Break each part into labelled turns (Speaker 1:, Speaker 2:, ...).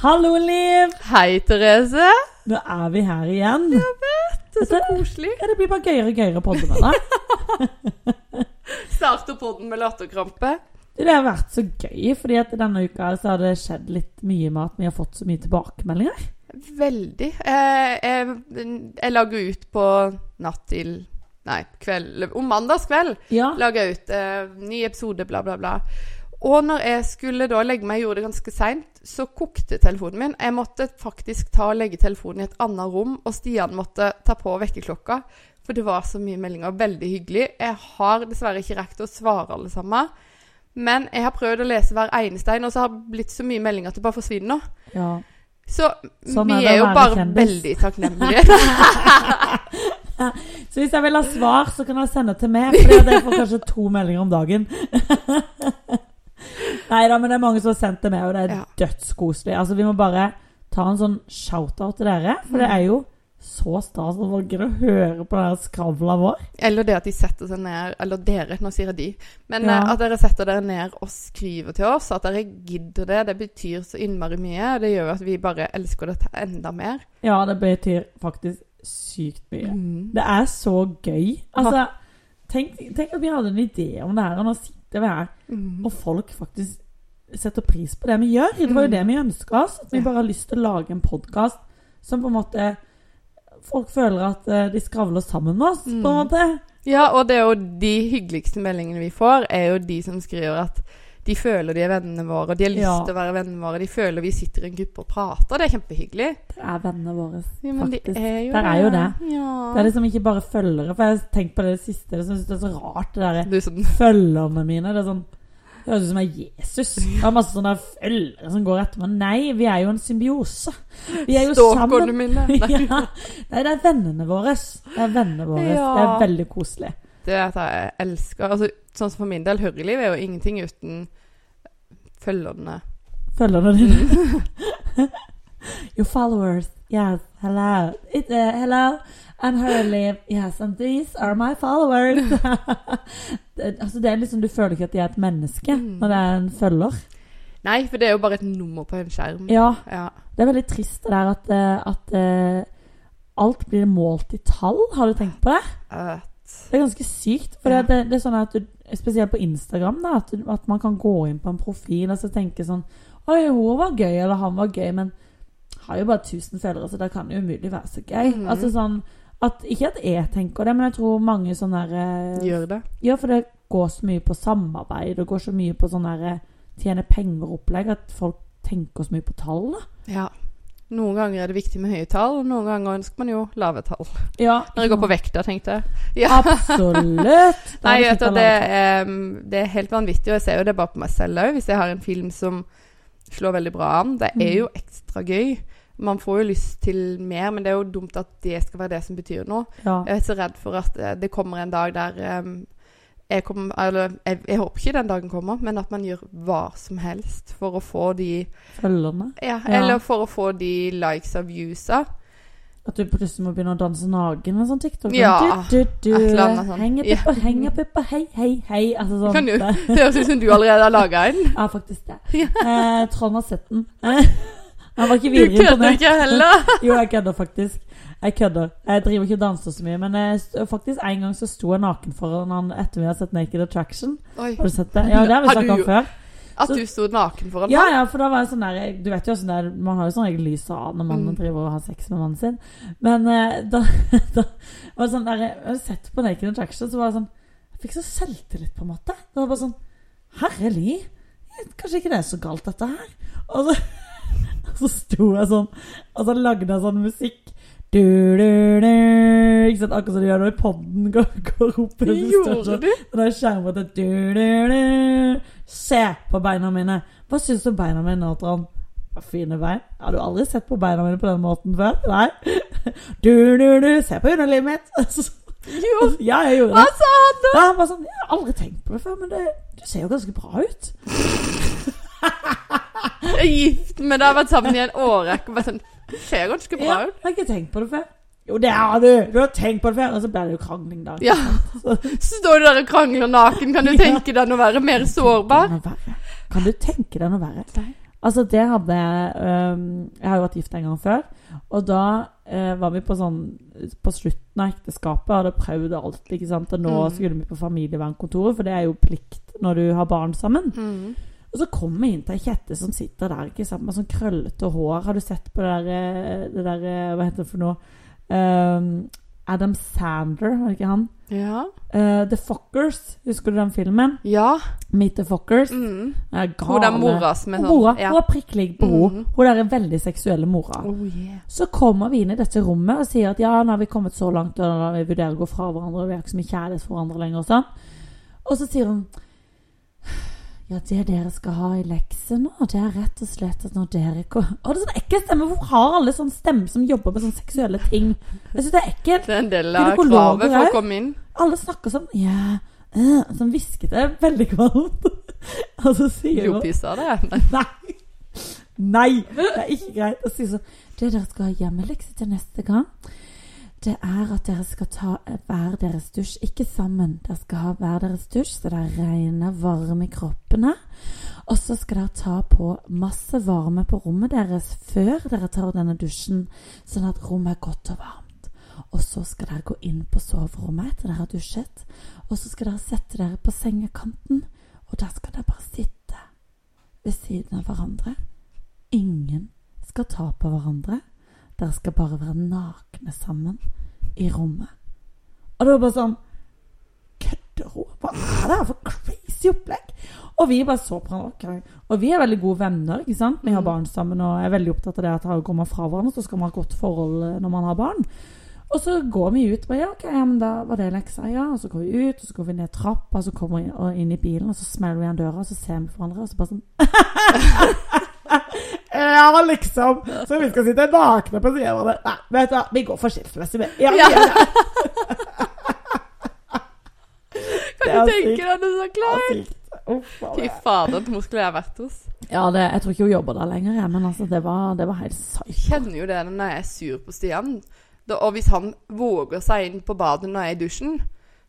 Speaker 1: Hallo, Liv!
Speaker 2: Hei, Therese.
Speaker 1: Nå er vi her igjen.
Speaker 2: Det er så
Speaker 1: Dette-
Speaker 2: koselig.
Speaker 1: Ja, det blir bare gøyere og gøyere å podde med deg.
Speaker 2: Starter podden med latterkrampe.
Speaker 1: Det har vært så gøy, fordi at denne uka så har det skjedd litt mye med at vi har fått så mye tilbakemeldinger.
Speaker 2: Veldig. Eh, jeg, jeg lager jo ut på natt til Nei, kveld Om mandagskveld
Speaker 1: Ja.
Speaker 2: lager jeg ut eh, ny episode, bla, bla, bla. Og når jeg skulle da legge meg, gjorde det ganske seint, så kokte telefonen min. Jeg måtte faktisk ta og legge telefonen i et annet rom, og Stian måtte ta på vekkerklokka. For det var så mye meldinger. Veldig hyggelig. Jeg har dessverre ikke rekt å svare alle sammen. Men jeg har prøvd å lese hver eneste en, og så har det blitt så mye meldinger at det bare forsvinner.
Speaker 1: ja.
Speaker 2: Så
Speaker 1: Sånn er
Speaker 2: vi
Speaker 1: det
Speaker 2: er
Speaker 1: å
Speaker 2: jo
Speaker 1: være
Speaker 2: bare
Speaker 1: kjendis.
Speaker 2: veldig takknemlige.
Speaker 1: Så hvis jeg vil ha svar, så kan jeg sende til meg, for jeg får kanskje to meldinger om dagen. Nei da, men det er mange som har sendt det med, og det er
Speaker 2: Ja.
Speaker 1: dødskoselig. Altså, vi må bare ta en sånn shout-out til dere, for det er jo så stas at folk gidder å høre på den skravla vår.
Speaker 2: Eller det at de setter seg ned Eller dere, nå sier jeg de. Men
Speaker 1: Ja.
Speaker 2: eh, at dere setter dere ned og skriver til oss. At dere gidder det. Det betyr så innmari mye. og Det gjør at vi bare elsker dette enda mer.
Speaker 1: Ja, det betyr faktisk sykt mye.
Speaker 2: Mm.
Speaker 1: Det er så gøy. Altså, tenk, tenk at vi hadde en idé om det her, og nå sitter vi her,
Speaker 2: Mm.
Speaker 1: og folk faktisk setter pris på det vi gjør. Det var jo det vi ønska oss. At vi
Speaker 2: Mm. Ja.
Speaker 1: bare har lyst til å lage en podkast som på en måte Folk føler at eh, de skravler sammen med oss, på en
Speaker 2: Mm.
Speaker 1: måte.
Speaker 2: Ja, og det er jo de hyggeligste meldingene vi får, er jo de som skriver at de føler de er vennene våre, og de har lyst
Speaker 1: Ja.
Speaker 2: til å være vennene våre. De føler vi sitter i en gruppe og prater. Det er kjempehyggelig.
Speaker 1: Det er vennene våre.
Speaker 2: Ja, men de
Speaker 1: Faktisk.
Speaker 2: er jo
Speaker 1: Der er jo det.
Speaker 2: Ja.
Speaker 1: Det er liksom ikke bare følgere. For jeg har tenkt på det siste. Det syns det er så rart, det derre
Speaker 2: Du som
Speaker 1: følgerne mine. Det er sånn det Høres ut som jeg er Jesus. Jeg har masse sånne følgere som går etter meg. Nei, vi er jo en symbiose. Vi er jo
Speaker 2: stalkerne
Speaker 1: sammen.
Speaker 2: mine. Nei.
Speaker 1: Ja. Nei, det er vennene våre. Det er vennene våre.
Speaker 2: Ja.
Speaker 1: Det er veldig koselig.
Speaker 2: Det er at jeg elsker altså, Sånn som for min del, høreliv er jo ingenting uten følgerne.
Speaker 1: Følgerne dine. Your followers. Yes, hello. It, uh, hello. I'm Hurley. Yes, and these are my followers. det, altså, det er liksom, du føler ikke at de er et menneske
Speaker 2: Mm.
Speaker 1: når det er en følger.
Speaker 2: Nei, for det er jo bare et nummer på en skjerm.
Speaker 1: Ja.
Speaker 2: Ja.
Speaker 1: Det er veldig trist det der at, eh, at eh, alt blir målt i tall. Har du tenkt på det?
Speaker 2: Eh,
Speaker 1: Det er ganske sykt. For
Speaker 2: Ja.
Speaker 1: det, det er sånn at du, Spesielt på Instagram, da, at, du- at man kan gå inn på en profil og så tenke sånn Oi, hun var gøy, eller han var gøy, men har jo bare 1000 følgere, så det kan jo umulig være så gøy.
Speaker 2: Mhm.
Speaker 1: Altså sånn at, Ikke at jeg tenker det, men jeg tror mange sånne der, eh,
Speaker 2: gjør det.
Speaker 1: Ja, for det går så mye på samarbeid, og går så mye på sånn der eh, tjene penger-opplegg, at folk tenker så mye på tall, da.
Speaker 2: Ja. Noen ganger er det viktig med høye tall, og noen ganger ønsker man jo lave tall.
Speaker 1: Ja,
Speaker 2: Når jeg går på vekta, tenkte jeg.
Speaker 1: Absolutt. Da
Speaker 2: Nei,
Speaker 1: er det
Speaker 2: vet du,
Speaker 1: sikkert
Speaker 2: det,
Speaker 1: alle-
Speaker 2: er, eh, det er helt vanvittig, og jeg ser jo det bare på meg selv òg. Hvis jeg har en film som slår veldig bra an. Det er jo ekstra gøy. Man får jo lyst til mer, men det er jo dumt at det skal være det som betyr noe.
Speaker 1: ja.
Speaker 2: Jeg er så redd for at eh, det kommer en dag der em, jeg, kom, eller, jeg, jeg håper ikke den dagen kommer, men at man gjør hva som helst for å få de
Speaker 1: følgerne.
Speaker 2: ja,
Speaker 1: Ja.
Speaker 2: Eller for å få de likes og viewsa.
Speaker 1: At du plutselig må begynne å danse naken med sånn TikTok.
Speaker 2: Ja,
Speaker 1: du, du, du,
Speaker 2: et eller annet sånt.
Speaker 1: Hengepippa, hengepippa, hei, hei, hei. Altså sånn.
Speaker 2: Kan jo- Det høres ut som du allerede har laga en.
Speaker 1: Ja, faktisk det. Eh, Trond har sett den. Eh, Han var ikke
Speaker 2: Du
Speaker 1: videre
Speaker 2: kødder
Speaker 1: imponert.
Speaker 2: ikke heller!
Speaker 1: Jo, jeg kødder faktisk. Jeg kødder. Jeg driver ikke og danser så mye, men jeg, st- faktisk en gang så sto jeg naken foran han etter vi hadde sett Naked Attraction.
Speaker 2: Oi.
Speaker 1: Har du sett det? Ja, det har vi
Speaker 2: Har du
Speaker 1: snakket om
Speaker 2: jo-
Speaker 1: før.
Speaker 2: At
Speaker 1: Så-
Speaker 2: du sto naken foran
Speaker 1: Ja,
Speaker 2: meg.
Speaker 1: ja, for da var jeg sånn der Du vet jo sånn der Man har jo sånn regel lyset av når man
Speaker 2: Mm.
Speaker 1: driver og har sex med mannen sin. Men eh, da, da var det sånn der Jeg har sett på Naked Attraction, så var det sånn Jeg fikk så selvtillit, på en måte. Det var bare sånn Herlig! Kanskje ikke det er så galt, dette her. Og så, og så sto jeg sånn, og så lagde jeg sånn musikk. Du, du, du. Ikke sant? Akkurat som du gjør når podden går, går opp. og du står sånn.
Speaker 2: Gjorde du?
Speaker 1: Og da er skjermen til du, du, du. Se på beina mine. Hva syns du om beina mine, nå, Trond? Ja, Fine bein. Har du aldri sett på beina mine på den måten før? Nei. Du, du, du. Se på underlivet mitt.
Speaker 2: Jo.
Speaker 1: Ja, jeg gjorde
Speaker 2: Hva
Speaker 1: det.
Speaker 2: sa han da?
Speaker 1: Da er han bare sånn Jeg har aldri tenkt på det før, men det, du ser jo ganske bra ut.
Speaker 2: Jeg er gift med deg, har vært sammen i en årrekke. og bare sånn, Det ser ganske bra
Speaker 1: Ja,
Speaker 2: ut.
Speaker 1: jeg har ikke tenkt på det før. Jo, det har du! Du har tenkt på det før. Og så ble det jo krangling, da.
Speaker 2: Ja. Står du der og krangler naken, kan du
Speaker 1: Ja.
Speaker 2: tenke deg å være mer sårbar?
Speaker 1: Kan du tenke deg noe verre?
Speaker 2: Nei.
Speaker 1: Altså, det hadde jeg øhm, Jeg har jo vært gift en gang før. Og da eh, var vi på sånn På slutten av ekteskapet og hadde prøvd alt. ikke sant? Og nå
Speaker 2: Mm.
Speaker 1: skulle vi på familievernkontoret, for det er jo plikt når du har barn sammen.
Speaker 2: Mm.
Speaker 1: Og så kommer jeg inn til ei kjette som sitter der ikke sant? med sånn krøllete hår. Har du sett på det der, eh, det der eh, Hva heter det for noe? Ehm, Adam Sander, var det ikke han?
Speaker 2: Ja.
Speaker 1: Eh, The Fockers. Husker du den filmen?
Speaker 2: ja.
Speaker 1: Meet the Fockers.
Speaker 2: Mm.
Speaker 1: Jeg er
Speaker 2: Hun der
Speaker 1: gale.
Speaker 2: mora som er
Speaker 1: Og
Speaker 2: sånn
Speaker 1: mora.
Speaker 2: Ja.
Speaker 1: Hun er prikk lik på
Speaker 2: Mhm.
Speaker 1: henne. Hun der er veldig seksuelle mora.
Speaker 2: Oh, yeah.
Speaker 1: Så kommer vi inn i dette rommet og sier at ja, nå har vi kommet så langt, og nå vi vurderer å gå fra hverandre, og vi har ikke så mye kjærlighet for hverandre lenger og sånn. Og så sier hun ja, det dere skal ha i lekse nå, det er rett og slett at når dere kom... Å, det er sånn ekkel stemme! Hvorfor har alle sånn stemme som jobber med sånne seksuelle ting? Jeg synes det er ekkelt.
Speaker 2: Det er en del av
Speaker 1: Gynekologer
Speaker 2: kravet for
Speaker 1: her.
Speaker 2: å komme inn.
Speaker 1: Alle snakker sånn ja, øh, sånn hviskete, veldig kvalmt. Og så sier hun
Speaker 2: Blodpisa, det. Nei.
Speaker 1: Nei! Nei! Det er ikke greit å si sånn. Det dere skal ha hjemmelekse til neste gang, det er at dere skal ta hver deres dusj. Ikke sammen. Dere skal ha hver deres dusj, så det er rene, varme i kroppene. Og så skal dere ta på masse varme på rommet deres før dere tar denne dusjen, sånn at rommet er godt og varmt. Og så skal dere gå inn på soverommet etter dere har dusjet. Og så skal dere sette dere på sengekanten, og der skal dere bare sitte ved siden av hverandre. Ingen skal ta på hverandre. Dere skal bare være nakne sammen i rommet. Og det var bare sånn Kødder hun? Hva er det her for crazy opplegg? Og vi bare så på hverandre. ok. Og vi er veldig gode venner. ikke sant? Vi har
Speaker 2: Mm.
Speaker 1: barn sammen og er veldig opptatt av det at her går man fra hverandre, så skal man ha et godt forhold eh, når man har barn. Og så går vi ut. Og ja, ok, ja, men da var det leksa, ja. Og så går vi ut, og så går vi ned trappa, og så kommer vi inn- og inn i bilen, og så smeller vi igjen døra, og så ser vi på hverandre, og så bare sånn Ja, liksom. Så vi skal sitte nakne på siden av det. Nei, vet du hva, vi går for skilsmisse, vi. Ja, vi
Speaker 2: Ja.
Speaker 1: gjør det. Det
Speaker 2: Kan
Speaker 1: er
Speaker 2: du tenke deg det så
Speaker 1: Ja,
Speaker 2: klart?
Speaker 1: sykt. Uff, hva
Speaker 2: Fy
Speaker 1: det er.
Speaker 2: fader, hvor skulle jeg vært hos?
Speaker 1: Ja, det, jeg tror ikke hun jobber der lenger, jeg, men altså, det var, det var helt psycho.
Speaker 2: kjenner jo det når jeg er sur på Stian. Da, og hvis han våger seg inn på badet når jeg er i dusjen,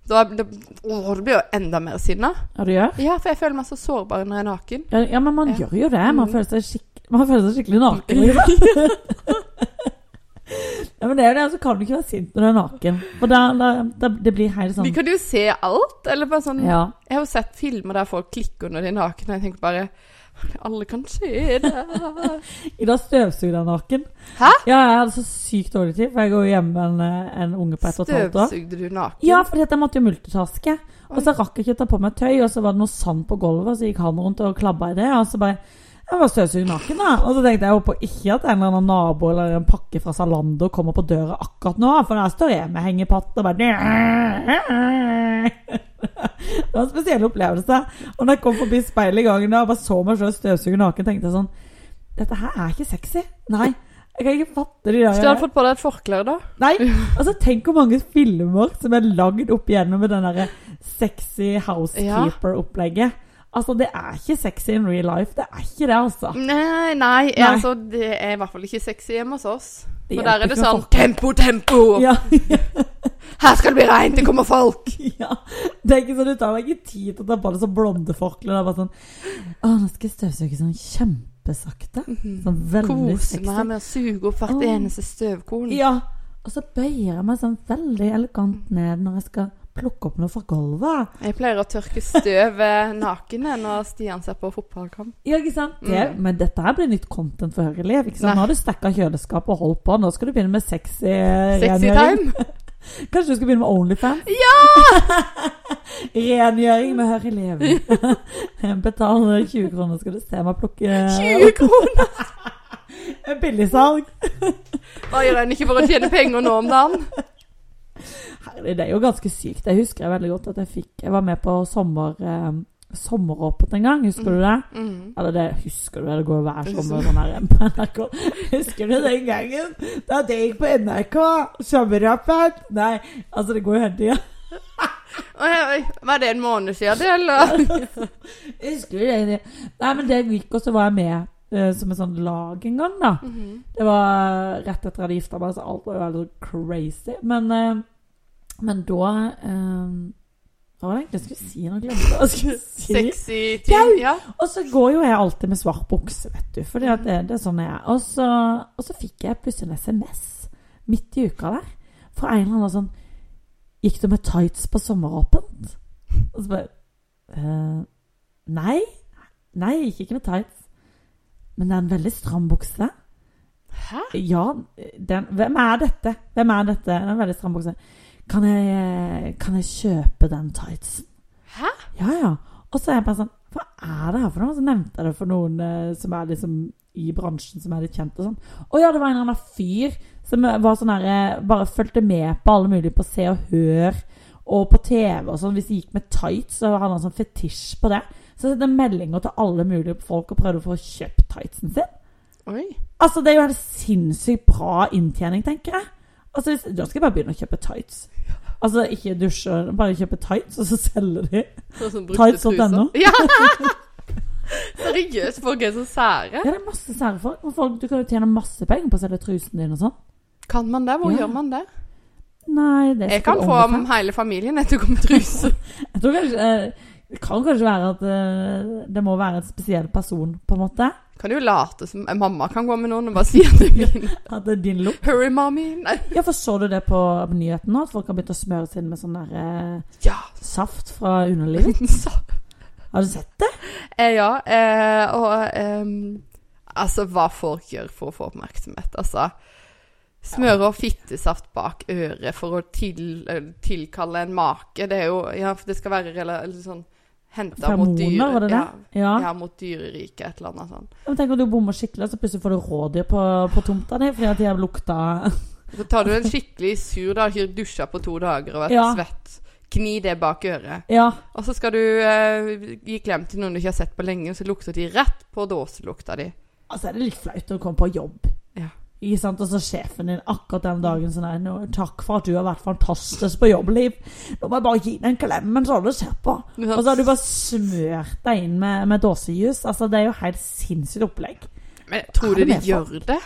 Speaker 2: da er det, åh, det blir jo enda mer sinna.
Speaker 1: Ja, du gjør?
Speaker 2: Ja, for jeg føler meg så sårbar når jeg er naken.
Speaker 1: Ja, ja, men man
Speaker 2: Ja.
Speaker 1: gjør jo det. Man
Speaker 2: Mhm.
Speaker 1: føler seg, skikk- man føler seg skikkelig naken. Liksom. ja, men det er jo det, så kan du ikke være sint når du er naken. For da, da, da, det blir helt
Speaker 2: Vi
Speaker 1: sånn
Speaker 2: kan jo se alt. Eller bare sånn
Speaker 1: ja.
Speaker 2: Jeg har jo sett filmer der folk klikker når de er nakne, og jeg tenker bare Alle kan se det.
Speaker 1: Ida støvsugde jeg naken.
Speaker 2: Hæ?
Speaker 1: Ja, jeg hadde så sykt dårlig tid, for jeg går jo hjemme med en, eh, en unge på ett og et halvt år.
Speaker 2: Støvsugde du naken?
Speaker 1: Ja, fordi at jeg måtte jo multitaske. Og så
Speaker 2: Oi.
Speaker 1: rakk jeg ikke å ta på meg tøy, og så var det noe sand på gulvet, og så gikk han rundt og klabba i det. Og så bare Jeg var støvsugd naken, da. Og så tenkte jeg jeg håper ikke at en eller annen nabo eller en pakke fra Zalando kommer på døra akkurat nå, for der står jeg med hengepatt og bare Det var en spesiell opplevelse. Og når jeg kom forbi speilet i gangen da, og bare så meg sjøl støvsuge naken, tenkte jeg sånn Dette her er ikke sexy. Nei. Jeg kan ikke fatte de der
Speaker 2: Skulle du hadde fått på deg et forkle, da?
Speaker 1: Nei, altså tenk hvor mange filmer som er lagd opp igjennom med den derre sexy housekeeper-opplegget. Altså, det er ikke sexy in real life. Det er ikke det, altså.
Speaker 2: Ah. Nei, nei,
Speaker 1: Nei.
Speaker 2: altså det er i hvert fall ikke sexy hjemme hos oss.
Speaker 1: Det
Speaker 2: For der
Speaker 1: hjelper
Speaker 2: er det
Speaker 1: ikke med
Speaker 2: sånn
Speaker 1: folk.
Speaker 2: Tempo, tempo!
Speaker 1: Ja,
Speaker 2: Her skal det bli reint, det kommer folk!
Speaker 1: ja. Det er ikke sånn, du tar deg ikke tid til å ta på deg sånn blondeforkle. Det er bare sånn Å, nå skal jeg støvsuge sånn kjempesakte. Sånn veldig
Speaker 2: Kose meg
Speaker 1: sexy.
Speaker 2: med å suge opp hvert
Speaker 1: Åh.
Speaker 2: eneste støvkorn.
Speaker 1: Ja. Og så bøyer jeg meg sånn veldig elegant ned når jeg skal plukke opp noe fra gulvet.
Speaker 2: Jeg pleier å tørke støv eh, naken jeg, når Stian ser på fotballkamp.
Speaker 1: Ja, ikke sant? Det, Men dette her blir nytt content for Høyre Liv. Ikke sant?
Speaker 2: Mm. Nei.
Speaker 1: Nå har du stekka kjøleskapet og holdt på. Nå skal du begynne med sexy eh,
Speaker 2: Sexy
Speaker 1: rengjøring.
Speaker 2: time!
Speaker 1: Kanskje du skal begynne med Onlyfans? Ja! rengjøring med Høyre Liv. Betal 20 kroner, skal du se meg plukke
Speaker 2: 20 kroner!
Speaker 1: billigsalg.
Speaker 2: Hva gjør en ikke for å tjene penger nå om dagen?
Speaker 1: Herlig, det er jo ganske sykt. Jeg husker jeg veldig godt at jeg fikk Jeg var med på sommer, eh, sommeråpent en gang. Husker du det?
Speaker 2: Mm.
Speaker 1: Eller det husker du, det går hver sommer sånn her på NRK. Husker du den gangen da det gikk på NRK? Sommerrappen? Nei, altså det går jo hele tida.
Speaker 2: Oi, oi, Var det en måned siden, det, eller?
Speaker 1: Husker du det? Nei, men det gikk, og så var jeg med eh, som et sånn lag en gang, da.
Speaker 2: Mhm.
Speaker 1: Det var rett etter at jeg hadde gifta meg, så sånn alt var jo veldig crazy. Men, eh, men da eh, Hva var det egentlig jeg skulle si? Nå glemte jeg hva jeg skulle si.
Speaker 2: Sexy ting. Ja.
Speaker 1: Og så går jo jeg alltid med svart bukse, vet du. Fordi at det, det er sånn jeg er. Og så, og så fikk jeg plutselig en SMS midt i uka der fra en eller annen sånn Gikk du med tights på sommeråpent? Og så bare eh, Nei. Nei, jeg gikk ikke med tights. Men det er en veldig stram bukse.
Speaker 2: Hæ?
Speaker 1: Ja, den, hvem er dette? Hvem er dette? Det er en veldig stram bukse. Kan jeg, kan jeg kjøpe den tightsen?
Speaker 2: Hæ?
Speaker 1: Ja, ja. Og så er jeg bare sånn Hva er det her for noe? Så nevnte jeg det for noen eh, som er liksom i bransjen, som er litt kjent og sånn. Å ja, det var en eller annen fyr som var sånn her eh, Bare fulgte med på alle mulige på Se og Hør og på TV og sånn. Hvis de gikk med tights, så hadde han sånn fetisj på det. Så jeg sendte meldinger til alle mulige folk og prøvde å få kjøpt tightsen sin.
Speaker 2: Oi.
Speaker 1: Altså, det er jo en sinnssykt bra inntjening, tenker jeg. Altså, hvis, Da skal jeg bare begynne å kjøpe tights. Altså, ikke dusje, bare kjøpe tights, og så selge de.
Speaker 2: Sånn som brukte
Speaker 1: Tights.no.
Speaker 2: truser. Ja! Seriøst, folk er så sære.
Speaker 1: Ja, det er masse sære folk. Og folk du kan jo tjene masse penger på å selge trusen din og sånn.
Speaker 2: Kan man det? Hvor
Speaker 1: Ja.
Speaker 2: gjør man det?
Speaker 1: Nei, det er
Speaker 2: Jeg kan
Speaker 1: sikkert
Speaker 2: få
Speaker 1: OnlyFans.
Speaker 2: hele familien etter å komme med truse.
Speaker 1: Jeg tror kanskje eh, Det kan kanskje være at eh, det må være en spesiell person, på en måte.
Speaker 2: Kan jo late som Eh, Mamma kan gå med noen og bare si at det er min.
Speaker 1: At det er din look.
Speaker 2: Hurry, mommy. Nei.
Speaker 1: Ja, for så du det på nyheten nå? At folk har begynt å smøre seg inn med sånn der eh,
Speaker 2: Ja.
Speaker 1: saft fra underlivet?
Speaker 2: Så.
Speaker 1: Har du sett det?
Speaker 2: Eh, ja. Eh, og ehm, Altså, hva folk gjør for å få oppmerksomhet, altså. Smøre og fittesaft bak øret for å til, eh, tilkalle en make. Det er jo Ja, for det skal være rela- eller sånn Henta mot dyr.
Speaker 1: Feromoner, var det det? Ja.
Speaker 2: Ja, ja, mot dyreriket, et eller annet sånt.
Speaker 1: Men Tenk om du bommer skikkelig, og så plutselig får du rådyr på, på tomta di fordi at de har lukta
Speaker 2: Så tar du en skikkelig sur Du har ikke dusja på to dager og vært
Speaker 1: Ja.
Speaker 2: svett. Kni det bak øret.
Speaker 1: Ja.
Speaker 2: Og så skal du eh, gi klem til noen du ikke har sett på lenge, og så lukter de rett på dåselukta di.
Speaker 1: Altså er det litt flaut når du kommer på jobb.
Speaker 2: Ja.
Speaker 1: Ikke sant? Og så sjefen din akkurat den dagen sånn her «Nå, 'Takk for at du har vært fantastisk på jobb, Liv. Nå må jeg bare gi deg en klem, men så har du sett på.' Og så har du bare smørt deg inn med, med dåsejus. Altså, det er jo helt sinnssykt opplegg.
Speaker 2: Men tror du
Speaker 1: Er det
Speaker 2: de
Speaker 1: mer
Speaker 2: gjør det?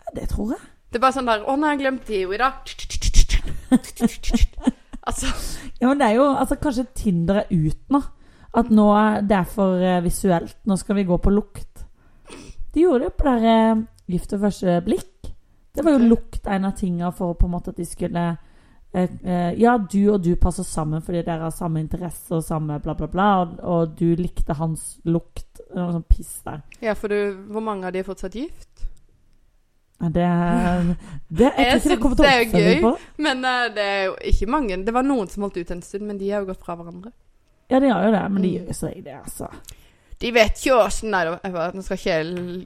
Speaker 1: Ja, det tror jeg.
Speaker 2: Det er bare sånn der 'Å, nei, jeg har glemt det jo i dag'. Altså
Speaker 1: Ja, men det er jo altså, Kanskje Tinder er ut nå. At nå er det er for eh, visuelt. Nå skal vi gå på lukt. De gjorde det på der eh, Gift ved første blikk. Det var jo
Speaker 2: Ok.
Speaker 1: lukt en av tinga for på en måte at de skulle eh, eh, Ja, du og du passer sammen fordi dere har samme interesse og samme bla, bla, bla. Og, og du likte hans lukt. Det var Noe sånn piss der.
Speaker 2: Ja, for du Hvor mange av de er fortsatt gift?
Speaker 1: Ja, Det, eh, det Jeg tror
Speaker 2: Jeg
Speaker 1: ikke det
Speaker 2: synes
Speaker 1: kommer til å
Speaker 2: det er
Speaker 1: oppføre
Speaker 2: gøy.
Speaker 1: på.
Speaker 2: Men eh, det er jo ikke mange. Det var noen som holdt ut en stund, men de har jo gått fra hverandre.
Speaker 1: Ja, det gjør jo det, men de
Speaker 2: Mm.
Speaker 1: gjør jo så ikke det, altså.
Speaker 2: De vet ikke åssen Nei, da, jeg bare, nå skal ikke jeg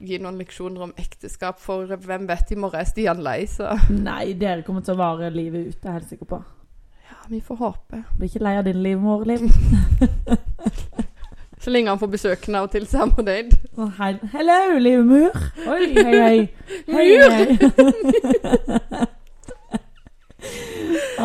Speaker 2: gi noen leksjoner om ekteskap, for hvem vet, i morgen er Stian lei, så
Speaker 1: Nei, dere kommer til å vare livet ut, det er jeg helt sikker på.
Speaker 2: Ja, vi får håpe.
Speaker 1: Blir ikke lei av din livmor, Liv.
Speaker 2: Så lenge han får besøk av og til, så er han fornøyd.
Speaker 1: Sånn hei- Hello, livmor! Oi, hei, hei. hei,
Speaker 2: Mur!
Speaker 1: hei.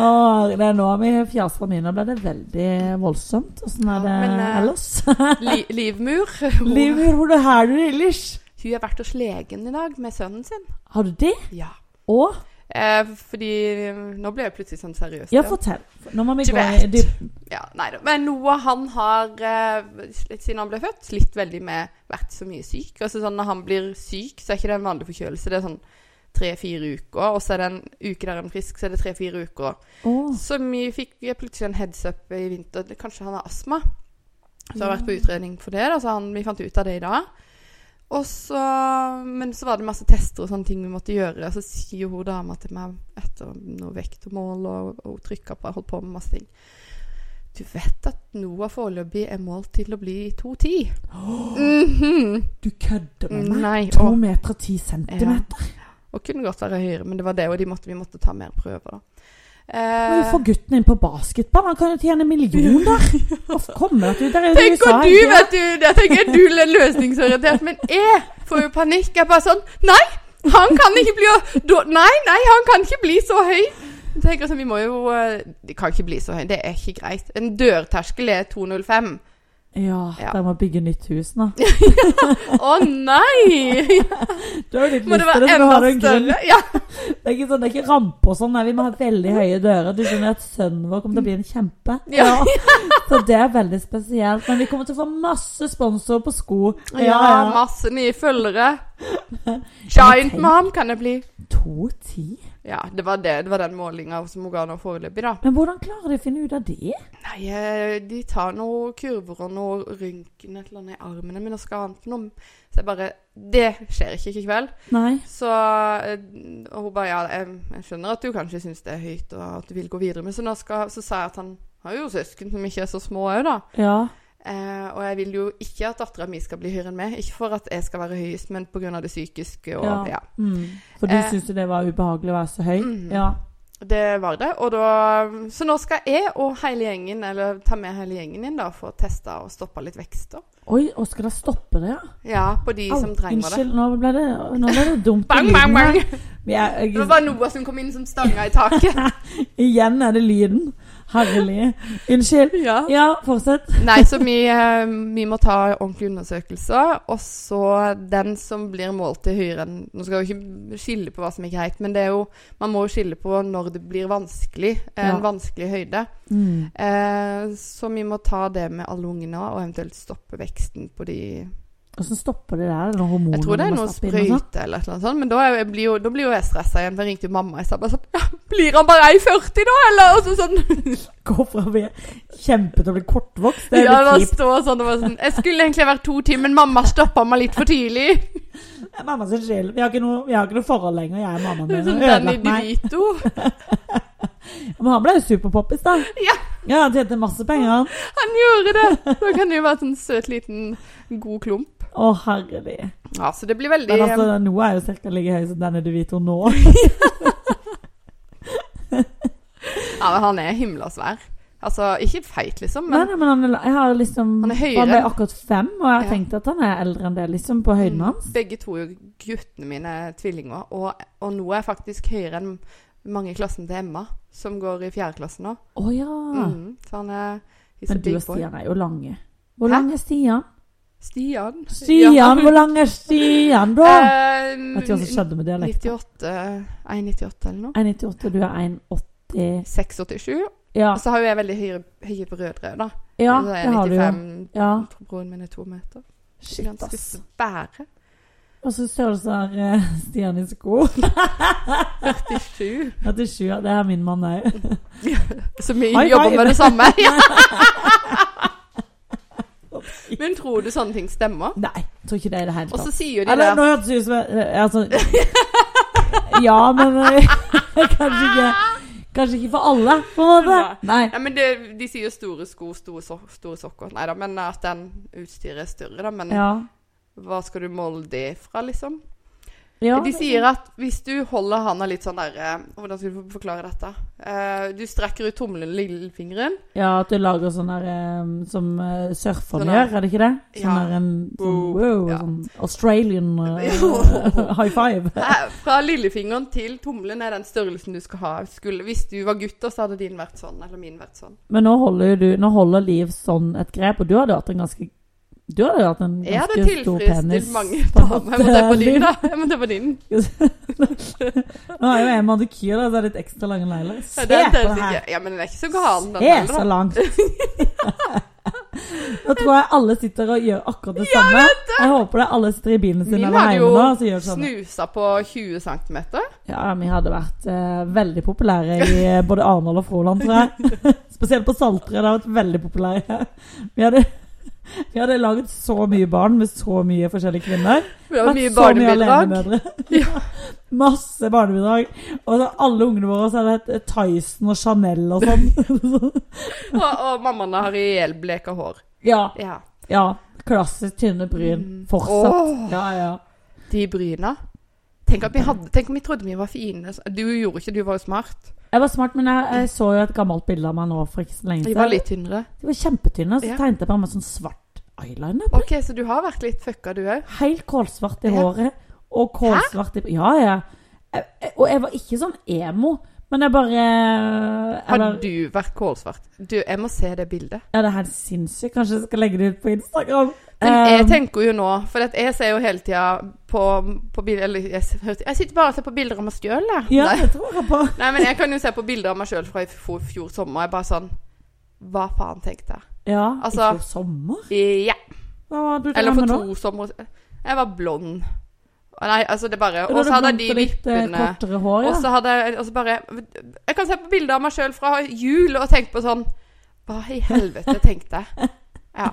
Speaker 1: Åh, det er nå vi fjaser mine. Ble det veldig voldsomt? Åssen er det
Speaker 2: Ja, men, eh,
Speaker 1: ellers?
Speaker 2: Li livmur. Hun,
Speaker 1: livmor, hvor er du ellers?
Speaker 2: hun har vært hos legen i dag med sønnen sin.
Speaker 1: Har du det?
Speaker 2: Ja.
Speaker 1: Og?
Speaker 2: Eh, fordi Nå ble jeg plutselig sånn seriøs.
Speaker 1: Ja,
Speaker 2: igjen.
Speaker 1: fortell. Nå må vi
Speaker 2: Du
Speaker 1: gå i
Speaker 2: vet.
Speaker 1: dybden.
Speaker 2: Ja, nei da. Men Noah, han har eh, slitt siden han ble født, slitt veldig med vært så mye syk. Altså sånn når han blir syk, så er ikke det en vanlig forkjølelse. Det er sånn tre-fire uker, og så er det en uke der han er frisk, så er det tre-fire uker.
Speaker 1: Åh,
Speaker 2: Så vi fikk vi plutselig en heads up i vinter. Det- Kanskje han har astma. Så jeg har vært på
Speaker 1: Mm.
Speaker 2: utredning for det. Da, så han, vi fant ut av det i dag. Og så, men så var det masse tester og sånne ting vi måtte gjøre. Og så sier hun dama til meg etter noe vektmål og, og hun trykka på og holdt på med masse ting. Du vet at Noah foreløpig er målt til å bli 2,10? Mhm.
Speaker 1: du kødder med meg.
Speaker 2: Nei.
Speaker 1: To
Speaker 2: Og,
Speaker 1: meter og ti centimeter.
Speaker 2: og kunne godt være høyere, men det var det, og de måtte, vi måtte ta mer prøver, da.
Speaker 1: Men vi
Speaker 2: Eh,
Speaker 1: får gutten inn på basketball. Han kan jo tjene millioner. Hvorfor kommer det til der er jo
Speaker 2: Tenk
Speaker 1: USA,
Speaker 2: om du,
Speaker 1: ikke?
Speaker 2: vet du, det tenker jeg du er løsningsorientert, men jeg får jo panikk. Jeg er bare sånn, nei, han kan ikke bli, da- nei, nei, han kan ikke bli så høy. Jeg tenker sånn, vi må jo, eh, de kan ikke bli så høy, det er ikke greit. En dørterskel er 2,05.
Speaker 1: Ja,
Speaker 2: Ja.
Speaker 1: der må bygge nytt hus nå.
Speaker 2: Å nei!
Speaker 1: Du har jo litt
Speaker 2: Må det
Speaker 1: lyst til
Speaker 2: være
Speaker 1: det, men nå
Speaker 2: enda
Speaker 1: har du en grunn.
Speaker 2: større? Ja.
Speaker 1: Det er ikke, sånn, det er ikke ramper og sånn, nei, vi må ha veldig høye dører. Du skjønner at sønnen vår kommer til å bli en kjempe.
Speaker 2: Ja.
Speaker 1: Så det er veldig spesielt. Men vi kommer til å få masse sponsorer på sko.
Speaker 2: ja, masse nye følgere. Giant
Speaker 1: tenk-
Speaker 2: mom kan det bli.
Speaker 1: To ti?
Speaker 2: Ja, det var, det. Det var den målinga som hun ga nå foreløpig, da.
Speaker 1: Men hvordan klarer de å finne ut av det?
Speaker 2: Nei, eh, de tar noen kurver og noe røntgen et eller annet i armene mine og skal ha den til noe. Så jeg bare Det skjer ikke i kveld.
Speaker 1: Nei.
Speaker 2: Så eh, og hun bare Ja, jeg, jeg skjønner at du kanskje syns det er høyt, og at du vil gå videre, men så, nå skal, så sa jeg at han har jo søsken som ikke er så små òg, da.
Speaker 1: Ja.
Speaker 2: Eh, og jeg vil jo ikke at dattera mi skal bli høyere enn meg. Ikke for at jeg skal være høyest, men pga. det psykiske og
Speaker 1: Ja.
Speaker 2: ja.
Speaker 1: Mm. For du
Speaker 2: Eh.
Speaker 1: syns jo det var ubehagelig å være så høy?
Speaker 2: Mhm.
Speaker 1: Ja.
Speaker 2: Det var det. Og da, så nå skal jeg og hele gjengen, eller ta med hele gjengen inn da, for å teste og stoppe litt vekster.
Speaker 1: Oi, og skal det stoppe det, ja?
Speaker 2: Ja, på de som
Speaker 1: Au,
Speaker 2: trenger det.
Speaker 1: Unnskyld, nå ble det, nå ble det dumt. i
Speaker 2: Bang, bang,
Speaker 1: lyden her.
Speaker 2: bang!
Speaker 1: Vi er,
Speaker 2: Det var bare noe som kom inn som stanga i taket.
Speaker 1: igjen er det lyden. Herlig. Unnskyld.
Speaker 2: Ja.
Speaker 1: Ja, fortsett.
Speaker 2: Nei, så vi, eh, vi må ta ordentlige undersøkelser. Og så den som blir målt til høyere enn Nå skal jeg jo ikke skille på hva som er greit, men det er jo, man må jo skille på når det blir vanskelig. eh, En
Speaker 1: Ja.
Speaker 2: vanskelig høyde.
Speaker 1: Mm.
Speaker 2: Eh, så vi må ta det med alle ungene, og eventuelt stoppe veksten på de
Speaker 1: Hvordan stopper det der? Er det noen hormoner
Speaker 2: Jeg tror det er
Speaker 1: man
Speaker 2: noe
Speaker 1: stapper inn og sånn?
Speaker 2: sprøyte eller et eller annet sånt, men da, er jo- jeg blir, jo, da blir jo jeg stressa igjen. For jeg ringte jo mamma i stad bare sånn ja, 'Blir han bare 1,40 da, eller?' Og så sånn.
Speaker 1: Gå fra å bli kjempe til å bli kortvokst. Det er
Speaker 2: Ja, da
Speaker 1: litt kjipt.
Speaker 2: står sånn, og bare sånn 'Jeg skulle egentlig vært to timer, men mamma stoppa meg litt for tidlig.'
Speaker 1: Det er Mamma sin skyld. Vi har ikke noe, vi har ikke noe forhold lenger, jeg og mammaen
Speaker 2: Det er
Speaker 1: min.
Speaker 2: Sånn
Speaker 1: har
Speaker 2: den
Speaker 1: ødelagt meg.
Speaker 2: idiot.
Speaker 1: Men han ble jo superpoppis, da.
Speaker 2: Ja.
Speaker 1: ja. Han tjente masse penger, han.
Speaker 2: Han gjorde det! Da kan det jo være sånn søt liten god klump.
Speaker 1: Å, herlig.
Speaker 2: Ja, så det blir veldig
Speaker 1: Men altså, Noah er jo ca. like høy som denne du vet hun nå.
Speaker 2: Ja, men han er himla svær. Altså, ikke feit, liksom,
Speaker 1: Nei, nei,
Speaker 2: men
Speaker 1: men han, er- jeg har liksom
Speaker 2: Han er høyere.
Speaker 1: Han ble akkurat fem, og jeg har
Speaker 2: Ja. Mm.
Speaker 1: tenkt at han er eldre enn det, liksom, på høyden hans.
Speaker 2: Begge to er jo guttene mine er tvillinger, og, og nå er jeg faktisk høyere enn mange i klassen til Emma, som går i fjerde klasse nå.
Speaker 1: Å ja.
Speaker 2: Mm, så han er he's a
Speaker 1: Ah. Men du
Speaker 2: big
Speaker 1: og
Speaker 2: boy.
Speaker 1: Stian er jo lange. Hvor
Speaker 2: Hæ?
Speaker 1: lang er Stian?
Speaker 2: Stian.
Speaker 1: Stian, hvor lang er Stian, da?
Speaker 2: Eh,
Speaker 1: Vet ikke hva som skjedde med dialekten.
Speaker 2: 98 1,98 eller noe.
Speaker 1: 1,98, du er 1,80
Speaker 2: 6,87.
Speaker 1: ja.
Speaker 2: Og så har jo jeg veldig høye, høye brødre, da.
Speaker 1: ja,
Speaker 2: Så er
Speaker 1: det har du jo.
Speaker 2: 95.
Speaker 1: Ja.
Speaker 2: Broren min er to meter.
Speaker 1: Shit,
Speaker 2: Ganske
Speaker 1: ass.
Speaker 2: svære.
Speaker 1: Og så størrelse er eh, Stian i sko.
Speaker 2: 47.
Speaker 1: 47, ja, det er min mann òg.
Speaker 2: Så vi
Speaker 1: High
Speaker 2: jobber
Speaker 1: five.
Speaker 2: med det samme. Ja. Men tror du sånne ting stemmer?
Speaker 1: Nei, tror ikke det i det hele
Speaker 2: Og
Speaker 1: tatt.
Speaker 2: så sier de
Speaker 1: Eller
Speaker 2: det
Speaker 1: nå hørtes det ut som jeg eh, Altså Ja, men eh, kanskje ikke Kanskje ikke for alle, på en måte. Nei.
Speaker 2: Nei, men det, De sier jo store sko, store, so store sokker. Nei da, men at den utstyret er større, da. Men
Speaker 1: Ja.
Speaker 2: hva skal du måle det fra, liksom?
Speaker 1: ja.
Speaker 2: de sier at hvis du holder handa litt sånn der eh, Hvordan skal du forklare dette? Eh, du strekker ut tommelen og lillefingeren.
Speaker 1: Ja, at du lager sånn der eh, som eh, surferne
Speaker 2: Sånn der-
Speaker 1: gjør, er det ikke det? Sånn
Speaker 2: Ja.
Speaker 1: der en sånn,
Speaker 2: Wow.
Speaker 1: wow,
Speaker 2: Ja.
Speaker 1: sånn Australian eh, high five.
Speaker 2: Eh, Fra lillefingeren til tommelen er den størrelsen du skal ha. Skulle, hvis du var gutt, da, så hadde din vært sånn, eller min vært sånn.
Speaker 1: Men nå holder jo du Nå holder Liv sånn et grep, og du hadde hatt en ganske Du hadde hatt en
Speaker 2: Jeg hadde
Speaker 1: ganske stor penis.
Speaker 2: tilfredsstilt mange damer. Jeg må se på din, da. Jeg må se på din.
Speaker 1: Nå er jo jeg manikyr, da, så er det litt ekstra lange negler. Se
Speaker 2: Ja,
Speaker 1: på
Speaker 2: den
Speaker 1: det
Speaker 2: telles
Speaker 1: her!
Speaker 2: ikke. Ja, men den er ikke så gal, den
Speaker 1: Se
Speaker 2: heller.
Speaker 1: så
Speaker 2: da.
Speaker 1: langt! Nå tror jeg alle sitter og gjør akkurat det samme. Jeg håper det er alle sitter i bilen sin
Speaker 2: Min
Speaker 1: eller
Speaker 2: hadde
Speaker 1: hjemme
Speaker 2: jo
Speaker 1: nå og gjør sånn.
Speaker 2: snusa på 20 cm.
Speaker 1: Ja, vi hadde vært eh, veldig populære i eh, både Arendal og Froland, tror jeg. Spesielt på Saltrød. Det har vært veldig populære. Vi hadde, vi hadde laget så mye barn med så mye forskjellige kvinner.
Speaker 2: Det var mye
Speaker 1: Vært så
Speaker 2: barnebidrag.
Speaker 1: alenemødre. Masse barnebidrag. Og så alle ungene våre så hadde hett Tyson og Chanel og sånn.
Speaker 2: Og, og mammaene har ihjelbleka hår.
Speaker 1: ja,
Speaker 2: Ja.
Speaker 1: ja. Klassisk tynne bryn.
Speaker 2: Mm.
Speaker 1: Fortsatt.
Speaker 2: Åh.
Speaker 1: Ja, ja.
Speaker 2: De bryna. Tenk, at vi hadde, tenk om vi trodde vi var fine. Du gjorde ikke, du var jo smart.
Speaker 1: Jeg var smart, men jeg, jeg så jo et gammelt bilde av meg nå for ikke så lenge
Speaker 2: Vi var
Speaker 1: siden.
Speaker 2: litt tynnere.
Speaker 1: De var kjempetynne, og så
Speaker 2: Ja.
Speaker 1: tegnet jeg på meg sånn svart eyeliner.
Speaker 2: OK, så du har vært litt fucka, du òg?
Speaker 1: Helt kålsvart i
Speaker 2: Ja.
Speaker 1: Eh, håret. Og kålsvart i Ja, ja. Jeg- jeg- Og jeg var ikke sånn emo, Men jeg bare eh,
Speaker 2: Har
Speaker 1: Eller
Speaker 2: du vært kålsvart? Du, jeg må se det bildet.
Speaker 1: Ja, det er helt sinnssykt. Kanskje jeg skal legge det ut på Instagram.
Speaker 2: Men jeg
Speaker 1: Eh,
Speaker 2: tenker jo nå, for at jeg ser jo hele tida på, på bilder Eller jeg, s- hørte- jeg sitter bare og ser på bilder av meg sjøl, jeg.
Speaker 1: Ja,
Speaker 2: Nei.
Speaker 1: det tror jeg på.
Speaker 2: Nei, men jeg kan jo se på bilder av meg sjøl fra i fjor, fjor sommer. Jeg bare sånn Hva faen, tenkte jeg.
Speaker 1: Ja,
Speaker 2: Altså-
Speaker 1: ikke sommer?
Speaker 2: Ja.
Speaker 1: Hva var det du
Speaker 2: Eller
Speaker 1: drev
Speaker 2: for
Speaker 1: med nå?
Speaker 2: to somre Jeg var blond. Å, Nei, altså, det bare
Speaker 1: Da
Speaker 2: Og så
Speaker 1: hadde
Speaker 2: hadde
Speaker 1: du
Speaker 2: jeg de
Speaker 1: blondt og litt, eh,
Speaker 2: vippene
Speaker 1: Kortere hår,
Speaker 2: Og
Speaker 1: ja.
Speaker 2: så hadde jeg og så bare Jeg kan se på bilder av meg sjøl fra jul og tenke på sånn Hva i helvete tenkte jeg? Ja.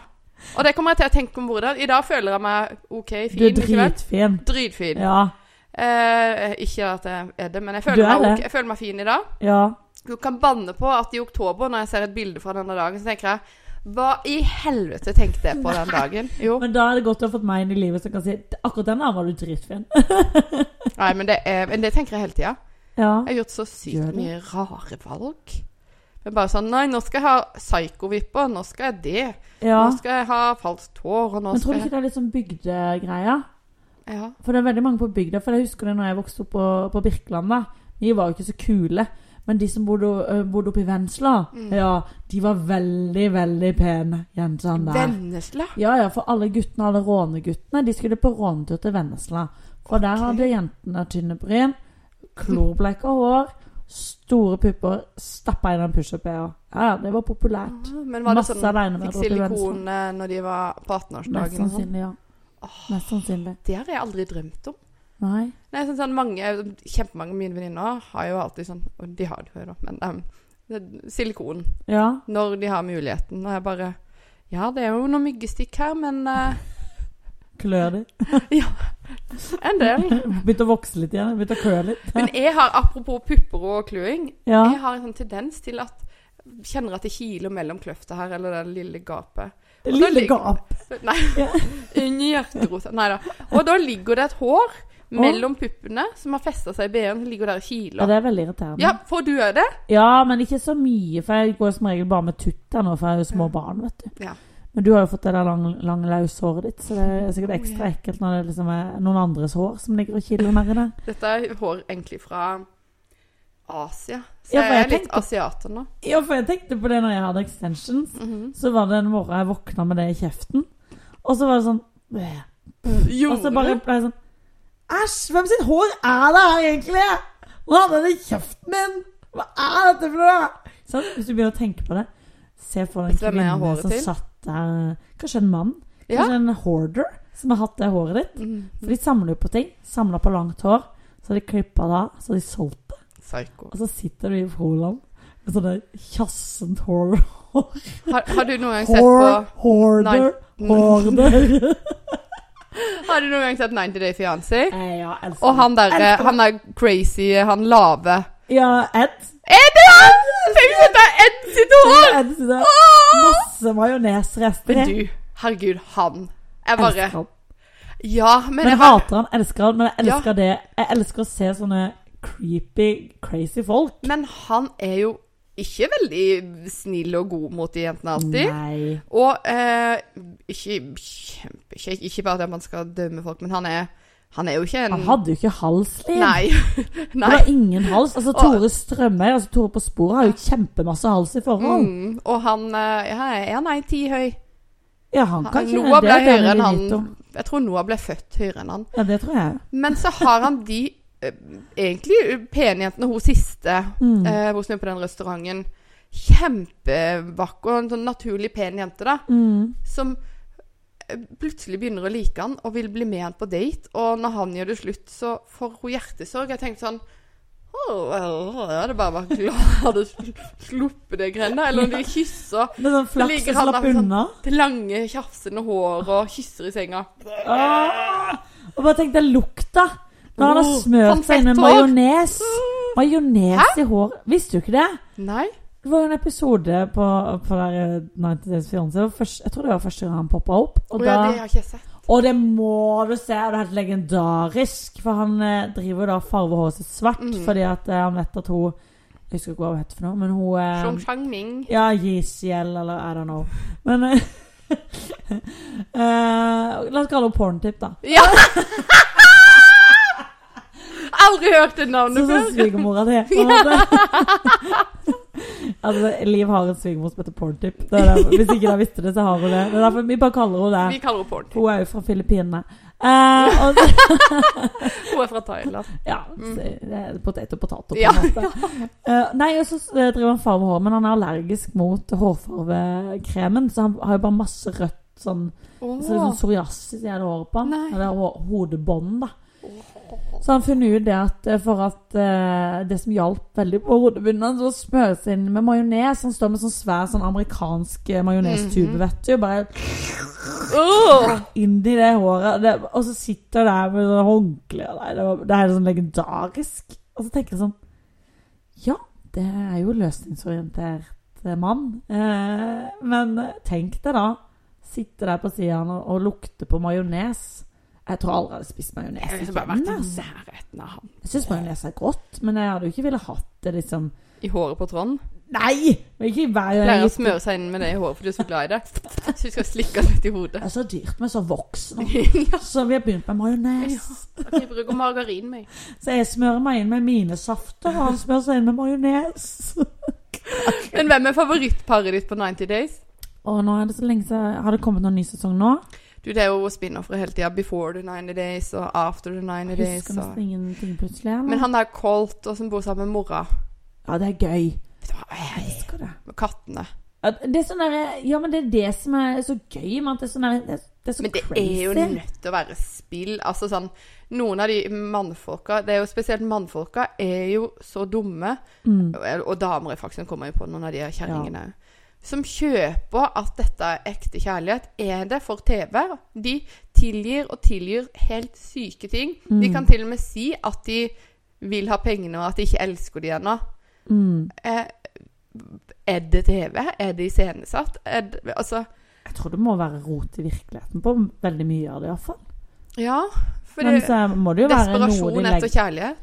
Speaker 2: Og det kommer jeg til å tenke om hvordan. I dag føler jeg meg OK,
Speaker 1: Du
Speaker 2: fin.
Speaker 1: er
Speaker 2: ikke vel?
Speaker 1: dritfin.
Speaker 2: Dritfin.
Speaker 1: Ja.
Speaker 2: Eh, ikke at jeg er det, men jeg
Speaker 1: Du
Speaker 2: føler,
Speaker 1: er
Speaker 2: meg,
Speaker 1: det.
Speaker 2: ok- jeg føler meg fin i dag.
Speaker 1: Ja.
Speaker 2: Du kan banne på at i oktober, når jeg ser et bilde fra denne dagen, så tenker jeg Hva i helvete tenkte jeg på den dagen? Jo.
Speaker 1: Men da er det godt å ha fått meg inn i livet som kan si akkurat den der var du dritfin.
Speaker 2: Nei, men det, er, men det tenker jeg hele tida.
Speaker 1: Ja.
Speaker 2: Jeg har gjort så
Speaker 1: Gjør
Speaker 2: sykt
Speaker 1: det.
Speaker 2: mye rare valg. Men bare sånn Nei, nå skal jeg ha psyko-vipper, nå skal jeg det.
Speaker 1: ja.
Speaker 2: Nå skal jeg ha falskt hår, og nå
Speaker 1: Men tror du
Speaker 2: skal
Speaker 1: ikke
Speaker 2: jeg
Speaker 1: det er litt sånn bygdegreia?
Speaker 2: ja.
Speaker 1: For det er veldig mange på bygda. For jeg husker det når jeg vokste opp på, på Birkeland. da. De var jo ikke så kule. Men de som bodde, ø, bodde oppe i Vennesla,
Speaker 2: Mm.
Speaker 1: ja, de var veldig, veldig pene jentene der.
Speaker 2: Vennesla.
Speaker 1: Ja, ja, for alle guttene, alle råneguttene, de skulle på rånetur til Vennesla. For der
Speaker 2: Ok.
Speaker 1: hadde jentene tynne bryn, klorbleika hår, store pupper, stappa inn en pushup-BH. Ja, ja, det var populært.
Speaker 2: Men var det
Speaker 1: Masse
Speaker 2: sånn
Speaker 1: alenemødre
Speaker 2: Fikk
Speaker 1: oppe i
Speaker 2: silikon eh, når de var på 18-årsdagen?
Speaker 1: Mest
Speaker 2: og sånn?
Speaker 1: sannsynlig, ja. Mest sannsynlig.
Speaker 2: Det har jeg aldri drømt om.
Speaker 1: Nei.
Speaker 2: Nei, sånn, sånn mange, Kjempemange av mine venninner har jo alltid sånn Og de har det jo, da, men em, det- silikon.
Speaker 1: Ja.
Speaker 2: Når de har muligheten. Og jeg bare Ja, det er jo noen myggstikk her, men eh,
Speaker 1: Klør de.
Speaker 2: en del.
Speaker 1: Begynte å vokse litt igjen. Begynte å klø litt.
Speaker 2: Men jeg har, apropos pupper og kluing,
Speaker 1: Ja.
Speaker 2: jeg har en sånn tendens til at Kjenner at det kiler mellom kløfta her, eller det lille gapet.
Speaker 1: Det
Speaker 2: Og da
Speaker 1: lille
Speaker 2: ligger-
Speaker 1: gap.
Speaker 2: Nei.
Speaker 1: Ja.
Speaker 2: Inni hjerterota. Nei da. Og da ligger det et hår mellom puppene som har festa seg i BH-en, som ligger der og
Speaker 1: Ja,
Speaker 2: kiler.
Speaker 1: det er veldig irriterende.
Speaker 2: Ja, får du òg det?
Speaker 1: Ja, men ikke så mye, for jeg går som regel bare med tutter nå, for jeg har jo små barn, vet du.
Speaker 2: Ja. Mm.
Speaker 1: Men du har jo fått det der lange, lange løse håret ditt, så det er sikkert
Speaker 2: Oh,
Speaker 1: ekstra ekkelt når det liksom er noen andres hår som ligger og kiler nedi der.
Speaker 2: Dette er hår egentlig fra Asia. Så
Speaker 1: Ja, for
Speaker 2: jeg,
Speaker 1: jeg
Speaker 2: er litt
Speaker 1: tenkte-
Speaker 2: asiater nå.
Speaker 1: Ja, for jeg tenkte på det når jeg hadde extensions, så var det en morgen jeg våkna med det i kjeften, og så var det sånn «Bæ». Og så bare ble jeg sånn Æsj, hvem sitt hår er det her egentlig? Hvor hadde den i kjeften min? Hva er dette for noe? Sånn, hvis du begynner å tenke på det, se for deg en
Speaker 2: Vet du hvem jeg har
Speaker 1: kvinne
Speaker 2: håret
Speaker 1: som
Speaker 2: til?
Speaker 1: satt der Kanskje en mann?
Speaker 2: Ja.
Speaker 1: Kanskje en hoarder som har hatt det håret ditt?
Speaker 2: Mhm.
Speaker 1: For de samler jo på ting. Samler på langt hår. Så har de klippa det av, så har de solgt det.
Speaker 2: Psyko.
Speaker 1: Og så sitter du i Froland med sånne kjassent hår.
Speaker 2: Har, har du noen gang sett
Speaker 1: Hår,
Speaker 2: på
Speaker 1: hoarder,
Speaker 2: Nei.
Speaker 1: hoarder.
Speaker 2: Har du noen gang sett 90 Day Fiancé?
Speaker 1: Eh, ja, elsker
Speaker 2: Og
Speaker 1: det.
Speaker 2: han der,
Speaker 1: Elsker det.
Speaker 2: han er crazy, han lave
Speaker 1: Ja, Ed.
Speaker 2: Ed! ja! Tenk at det er Ed sitt hår!
Speaker 1: Ed sine masse majonesrester.
Speaker 2: Men du, herregud, han. Jeg bare
Speaker 1: Elsker han.
Speaker 2: Ja, men
Speaker 1: Men
Speaker 2: jeg
Speaker 1: jeg
Speaker 2: har
Speaker 1: hater han, elsker han, men jeg elsker det. Jeg elsker å se sånne creepy, crazy folk.
Speaker 2: Men han er jo ikke veldig snill og god mot de jentene alltid.
Speaker 1: Nei.
Speaker 2: Og eh, ikke, kjempe, ikke, ikke bare at man skal dømme folk, men han er, han er jo ikke en
Speaker 1: Ah, Han hadde jo ikke halslim.
Speaker 2: Nei.
Speaker 1: Det
Speaker 2: Nei.
Speaker 1: var ingen hals. Altså,
Speaker 2: Og-
Speaker 1: Tore Strømøy, altså Tore på sporet, har jo kjempemasse hals i forhold.
Speaker 2: Mm, og han eh, ja, er han ei ti høy?
Speaker 1: Ja, han kan
Speaker 2: Han-
Speaker 1: ikke
Speaker 2: Noah ble
Speaker 1: det. Det
Speaker 2: høyere
Speaker 1: er
Speaker 2: enn
Speaker 1: det vi vet
Speaker 2: han.
Speaker 1: om.
Speaker 2: Jeg tror Noah ble født høyere enn han.
Speaker 1: Ja, det tror jeg.
Speaker 2: Men så har han de eh, egentlig pene jentene, hun siste
Speaker 1: Mm.
Speaker 2: eh, hos meg på den restauranten. Kjempevakker, en sånn naturlig pen jente, da.
Speaker 1: Mm.
Speaker 2: Som eh, plutselig begynner å like han og vil bli med han på date. Og når han gjør det slutt, så får hun hjertesorg. Jeg tenkte sånn «Åh, åh, Jeg hadde bare vært glad jeg hadde sl- sluppet det greiene. der». Eller om de kysser
Speaker 1: Med sånn flaks
Speaker 2: ligger
Speaker 1: og
Speaker 2: han
Speaker 1: slapp
Speaker 2: der sånn-
Speaker 1: unna.
Speaker 2: det lange, tjafsende håret og kysser i senga.
Speaker 1: Ah, og bare tenk deg lukta. Da han har
Speaker 2: Oh,
Speaker 1: smørt seg inn med
Speaker 2: konfetthår.
Speaker 1: majones.
Speaker 2: Mm.
Speaker 1: Majones i håret. Visste du ikke det?
Speaker 2: Nei.
Speaker 1: Det var jo en episode på, på der eh, 90 Days Fiancé. Det var først- Jeg tror det var første gang han poppa opp. Og,
Speaker 2: Å ja, det
Speaker 1: da,
Speaker 2: har ikke jeg sett.
Speaker 1: og det må du se! Det er helt legendarisk. For han eh, driver jo da og farger håret sitt svart
Speaker 2: Mhm.
Speaker 1: fordi at eh, han vet at hun Jeg husker ikke hva hun heter for noe, men hun eh,
Speaker 2: Chong Chang Ming.
Speaker 1: ja, Yeezyel, eller I don't know. Men eh, eh, La oss kalle henne Porntip, da.
Speaker 2: Ja! Aldri hørt det navnet
Speaker 1: Sånn som
Speaker 2: før.
Speaker 1: svigermora di. på en måte. altså, Liv har en svigermor som heter Porntip. Det er derfor- Hvis ikke dere visste det, så har hun det. Det er derfor vi bare kaller henne
Speaker 2: Vi
Speaker 1: det.
Speaker 2: kaller henne Porn.
Speaker 1: Hun er jo fra Filippinene. Eh, og så,
Speaker 2: Hun er fra Thailand.
Speaker 1: ja, så, det er potet og potet, på en
Speaker 2: Mm. Ja.
Speaker 1: måte. Eh, nei, og så eh, driver han farve hår, men han er allergisk mot hårfarvekremen, så han har jo bare masse rødt sånn
Speaker 2: Åh.
Speaker 1: Så det er sånn psoriasis i hele håret på han.
Speaker 2: Nei.
Speaker 1: Eller ho- hodebånd, da. Så han funnet ut det at eh, for at eh, det som hjalp veldig på hodebunnen hans, var å smøre seg inn med majones. Han står med sånn svær sånn amerikansk eh, majonestube,
Speaker 2: Mhm.
Speaker 1: vet du. Bare
Speaker 2: Åh.
Speaker 1: inn i det håret. Det, og så sitter han der med sånn håndkle. og Nei, det, var, det er sånn legendarisk. Og så tenker jeg sånn Ja, det er jo løsningsorientert eh, mann. Eh, men tenk deg da. Sitte der på sida og, og lukte på majones. Jeg tror aldri jeg hadde spist majones.
Speaker 2: Jeg har
Speaker 1: igjen,
Speaker 2: liksom bare vært i
Speaker 1: altså.
Speaker 2: nærheten av han.
Speaker 1: Jeg syns majones er godt, men jeg hadde jo ikke ville hatt det liksom
Speaker 2: I håret på Trond.
Speaker 1: Nei! Men ikke hver
Speaker 2: Pleier å
Speaker 1: gang.
Speaker 2: smøre seg inn med det i håret, for du er så glad i det. Så du skal slikke det litt i hodet.
Speaker 1: Det er så dyrt med så voks nå. Så vi har begynt med majones.
Speaker 2: Jeg bruker margarin, meg.
Speaker 1: Så jeg smører meg inn med mine safter, og han smører seg inn med majones.
Speaker 2: Men hvem er favorittparet ditt på 90 Days?
Speaker 1: Og nå er det så lenge siden Har det kommet noen ny sesong nå?
Speaker 2: Du, Det er jo spin-offer hele tida. Before the 90 Days og after the 90
Speaker 1: Jeg
Speaker 2: Days.
Speaker 1: husker
Speaker 2: Og...
Speaker 1: nesten ingenting plutselig. eller?
Speaker 2: Men han der Colt, og som bor sammen med mora
Speaker 1: Ja, det er gøy.
Speaker 2: Vet du hva, jeg
Speaker 1: Jeg elsker det.
Speaker 2: elsker Kattene.
Speaker 1: Ja, det er sånn der, ja, men det er det som er så gøy med at det er sånn der, det, er- det er så
Speaker 2: Men det
Speaker 1: crazy. Mm,
Speaker 2: er jo nødt til å være spill. Altså sånn Noen av de mannfolka, det er jo spesielt mannfolka, er jo så dumme.
Speaker 1: Mm.
Speaker 2: Og og damer i faksen kommer jo på noen av de her kjerringene òg. Som kjøper at dette er ekte kjærlighet. Er det for TV? De tilgir og tilgir helt syke ting.
Speaker 1: Mm.
Speaker 2: De kan til og med si at de vil ha pengene, og at de ikke elsker de ennå.
Speaker 1: Mm.
Speaker 2: Eh, er det TV? Er det iscenesatt? Er det- Altså
Speaker 1: Jeg tror det må være rot i virkeligheten på veldig mye av det, iallfall.
Speaker 2: Ja. For
Speaker 1: Men
Speaker 2: det,
Speaker 1: så må det jo være noe de
Speaker 2: desperasjon etter
Speaker 1: legger
Speaker 2: kjærlighet.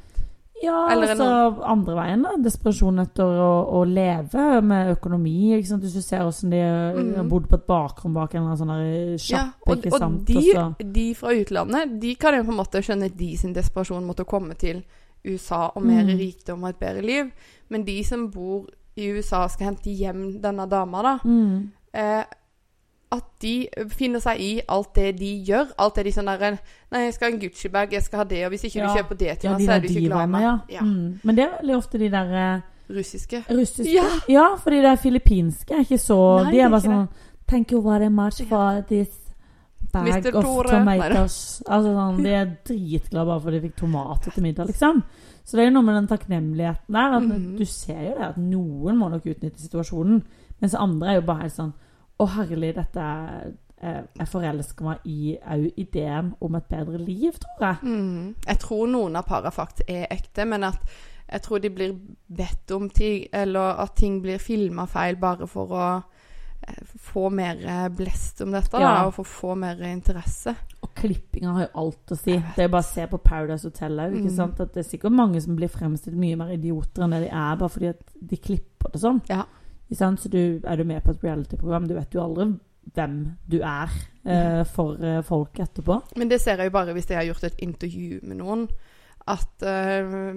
Speaker 1: Ja,
Speaker 2: Eller en
Speaker 1: altså andre veien, da. Desperasjon etter å, å leve med økonomi. Ikke sant? Hvis du ser hvordan de eh,
Speaker 2: Mhm.
Speaker 1: har bodd på et bakrom bak en eller annen sånn
Speaker 2: Ja,
Speaker 1: sjappe,
Speaker 2: og,
Speaker 1: ikke
Speaker 2: og
Speaker 1: sant.
Speaker 2: de,
Speaker 1: og så,
Speaker 2: de fra utlandet, de kan jo på en måte skjønne de sin desperasjon mot å komme til USA og mer
Speaker 1: Mm.
Speaker 2: rikdom og et bedre liv. Men de som bor i USA og skal hente hjem denne dama, da.
Speaker 1: mm.
Speaker 2: Eh, at de finner seg i alt det de gjør. Alt det de sånn derre Nei, jeg skal ha en Gucci-bag, jeg skal ha det, og hvis ikke
Speaker 1: Ja.
Speaker 2: du kjøper det til
Speaker 1: ja,
Speaker 2: meg,
Speaker 1: de
Speaker 2: så
Speaker 1: der
Speaker 2: er du ikke glad i
Speaker 1: divaene,
Speaker 2: meg.
Speaker 1: ja.
Speaker 2: Ja.
Speaker 1: Mm. Men det er veldig ofte de der eh,
Speaker 2: Russiske.
Speaker 1: russiske. Ja,
Speaker 2: Ja.
Speaker 1: fordi de filippinske er ikke så De
Speaker 2: Nei, det er
Speaker 1: er bare
Speaker 2: ikke
Speaker 1: sånn Thank you very much for this bag
Speaker 2: Mr.
Speaker 1: of
Speaker 2: Tore.
Speaker 1: tomatoes. Altså sånn, De er dritglade bare fordi de fikk tomater til middag, liksom. Så det er jo noe med den takknemligheten der. At
Speaker 2: Mhm.
Speaker 1: Du ser jo det at noen må nok utnytte situasjonen, mens andre er jo bare helt sånn Å, herlig, dette er eh, Jeg forelsker meg i au ideen om et bedre liv, tror jeg.
Speaker 2: Mm. Jeg tror noen av para faktisk er ekte, men at jeg tror de blir bedt om ting, eller at ting blir filma feil bare for å eh, få mer eh, blest om dette,
Speaker 1: Ja.
Speaker 2: da, og for å få mer interesse.
Speaker 1: Og klippinga har jo alt å si.
Speaker 2: Jeg vet.
Speaker 1: Det er jo bare å se på Paradise Hotel òg.
Speaker 2: Mm.
Speaker 1: Det er sikkert mange som blir fremstilt mye mer idioter enn det de er, bare fordi at de klipper det sånn.
Speaker 2: Ja.
Speaker 1: Ikke sant? Så du, er du med på et reality-program, du vet jo aldri hvem du er eh, for eh, folk etterpå.
Speaker 2: Men det ser jeg jo bare hvis jeg har gjort et intervju med noen, at eh,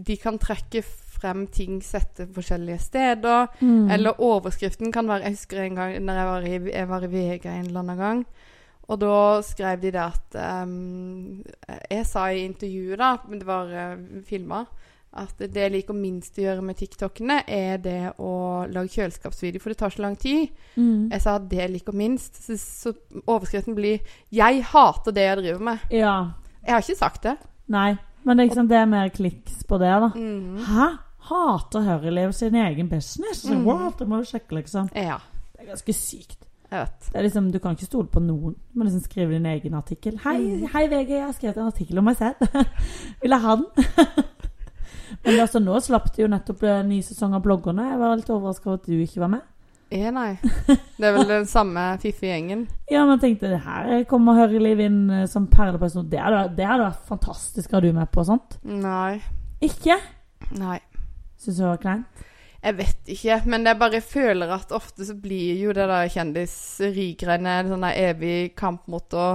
Speaker 2: de kan trekke frem ting sett til forskjellige steder. Mm.
Speaker 1: Mm.
Speaker 2: Eller overskriften kan være Jeg husker en gang når jeg var i, jeg var i VG en eller annen gang. Og da skrev de det at ehm, Jeg sa i intervjuet, da, men det var uh, filma, at det jeg liker minst å gjøre med TikTokene, er det å lage kjøleskapsvideo, for det tar så lang tid.
Speaker 1: Mm.
Speaker 2: Jeg sa det jeg liker minst. Så, så overskriften blir 'Jeg hater det jeg driver med'.
Speaker 1: Ja.
Speaker 2: Jeg har ikke sagt det.
Speaker 1: Nei. Men det er, ikke sant, det er mer kliks på det, da.
Speaker 2: Mhm.
Speaker 1: Hæ? Hater Høyrelev sin egen business?
Speaker 2: Mm.
Speaker 1: What? Det må du sjekke, liksom.
Speaker 2: Ja,
Speaker 1: Det er ganske sykt.
Speaker 2: jeg vet.
Speaker 1: Det er liksom, du kan ikke stole på noen. Du må liksom skrive din egen artikkel. Hei,
Speaker 2: Mm.
Speaker 1: hei VG, jeg har skrevet en artikkel om meg selv. Ville ha den. Men altså, nå slapp det jo nettopp en ny sesong av bloggerne. Jeg var litt overraska over at du ikke var med.
Speaker 2: Eh, nei. Det er vel den samme fiffige gjengen.
Speaker 1: Ja, men jeg tenkte det her kommer Høreliv inn eh, som perle på en snor. Det hadde vært- det hadde vært fantastisk å ha du med på og sånt.
Speaker 2: Nei.
Speaker 1: Ikke?
Speaker 2: Nei.
Speaker 1: Syns du det var kleint?
Speaker 2: Jeg vet ikke, men jeg bare føler at ofte så blir jo det der kjendisrigreiene en sånn der evig kamp mot å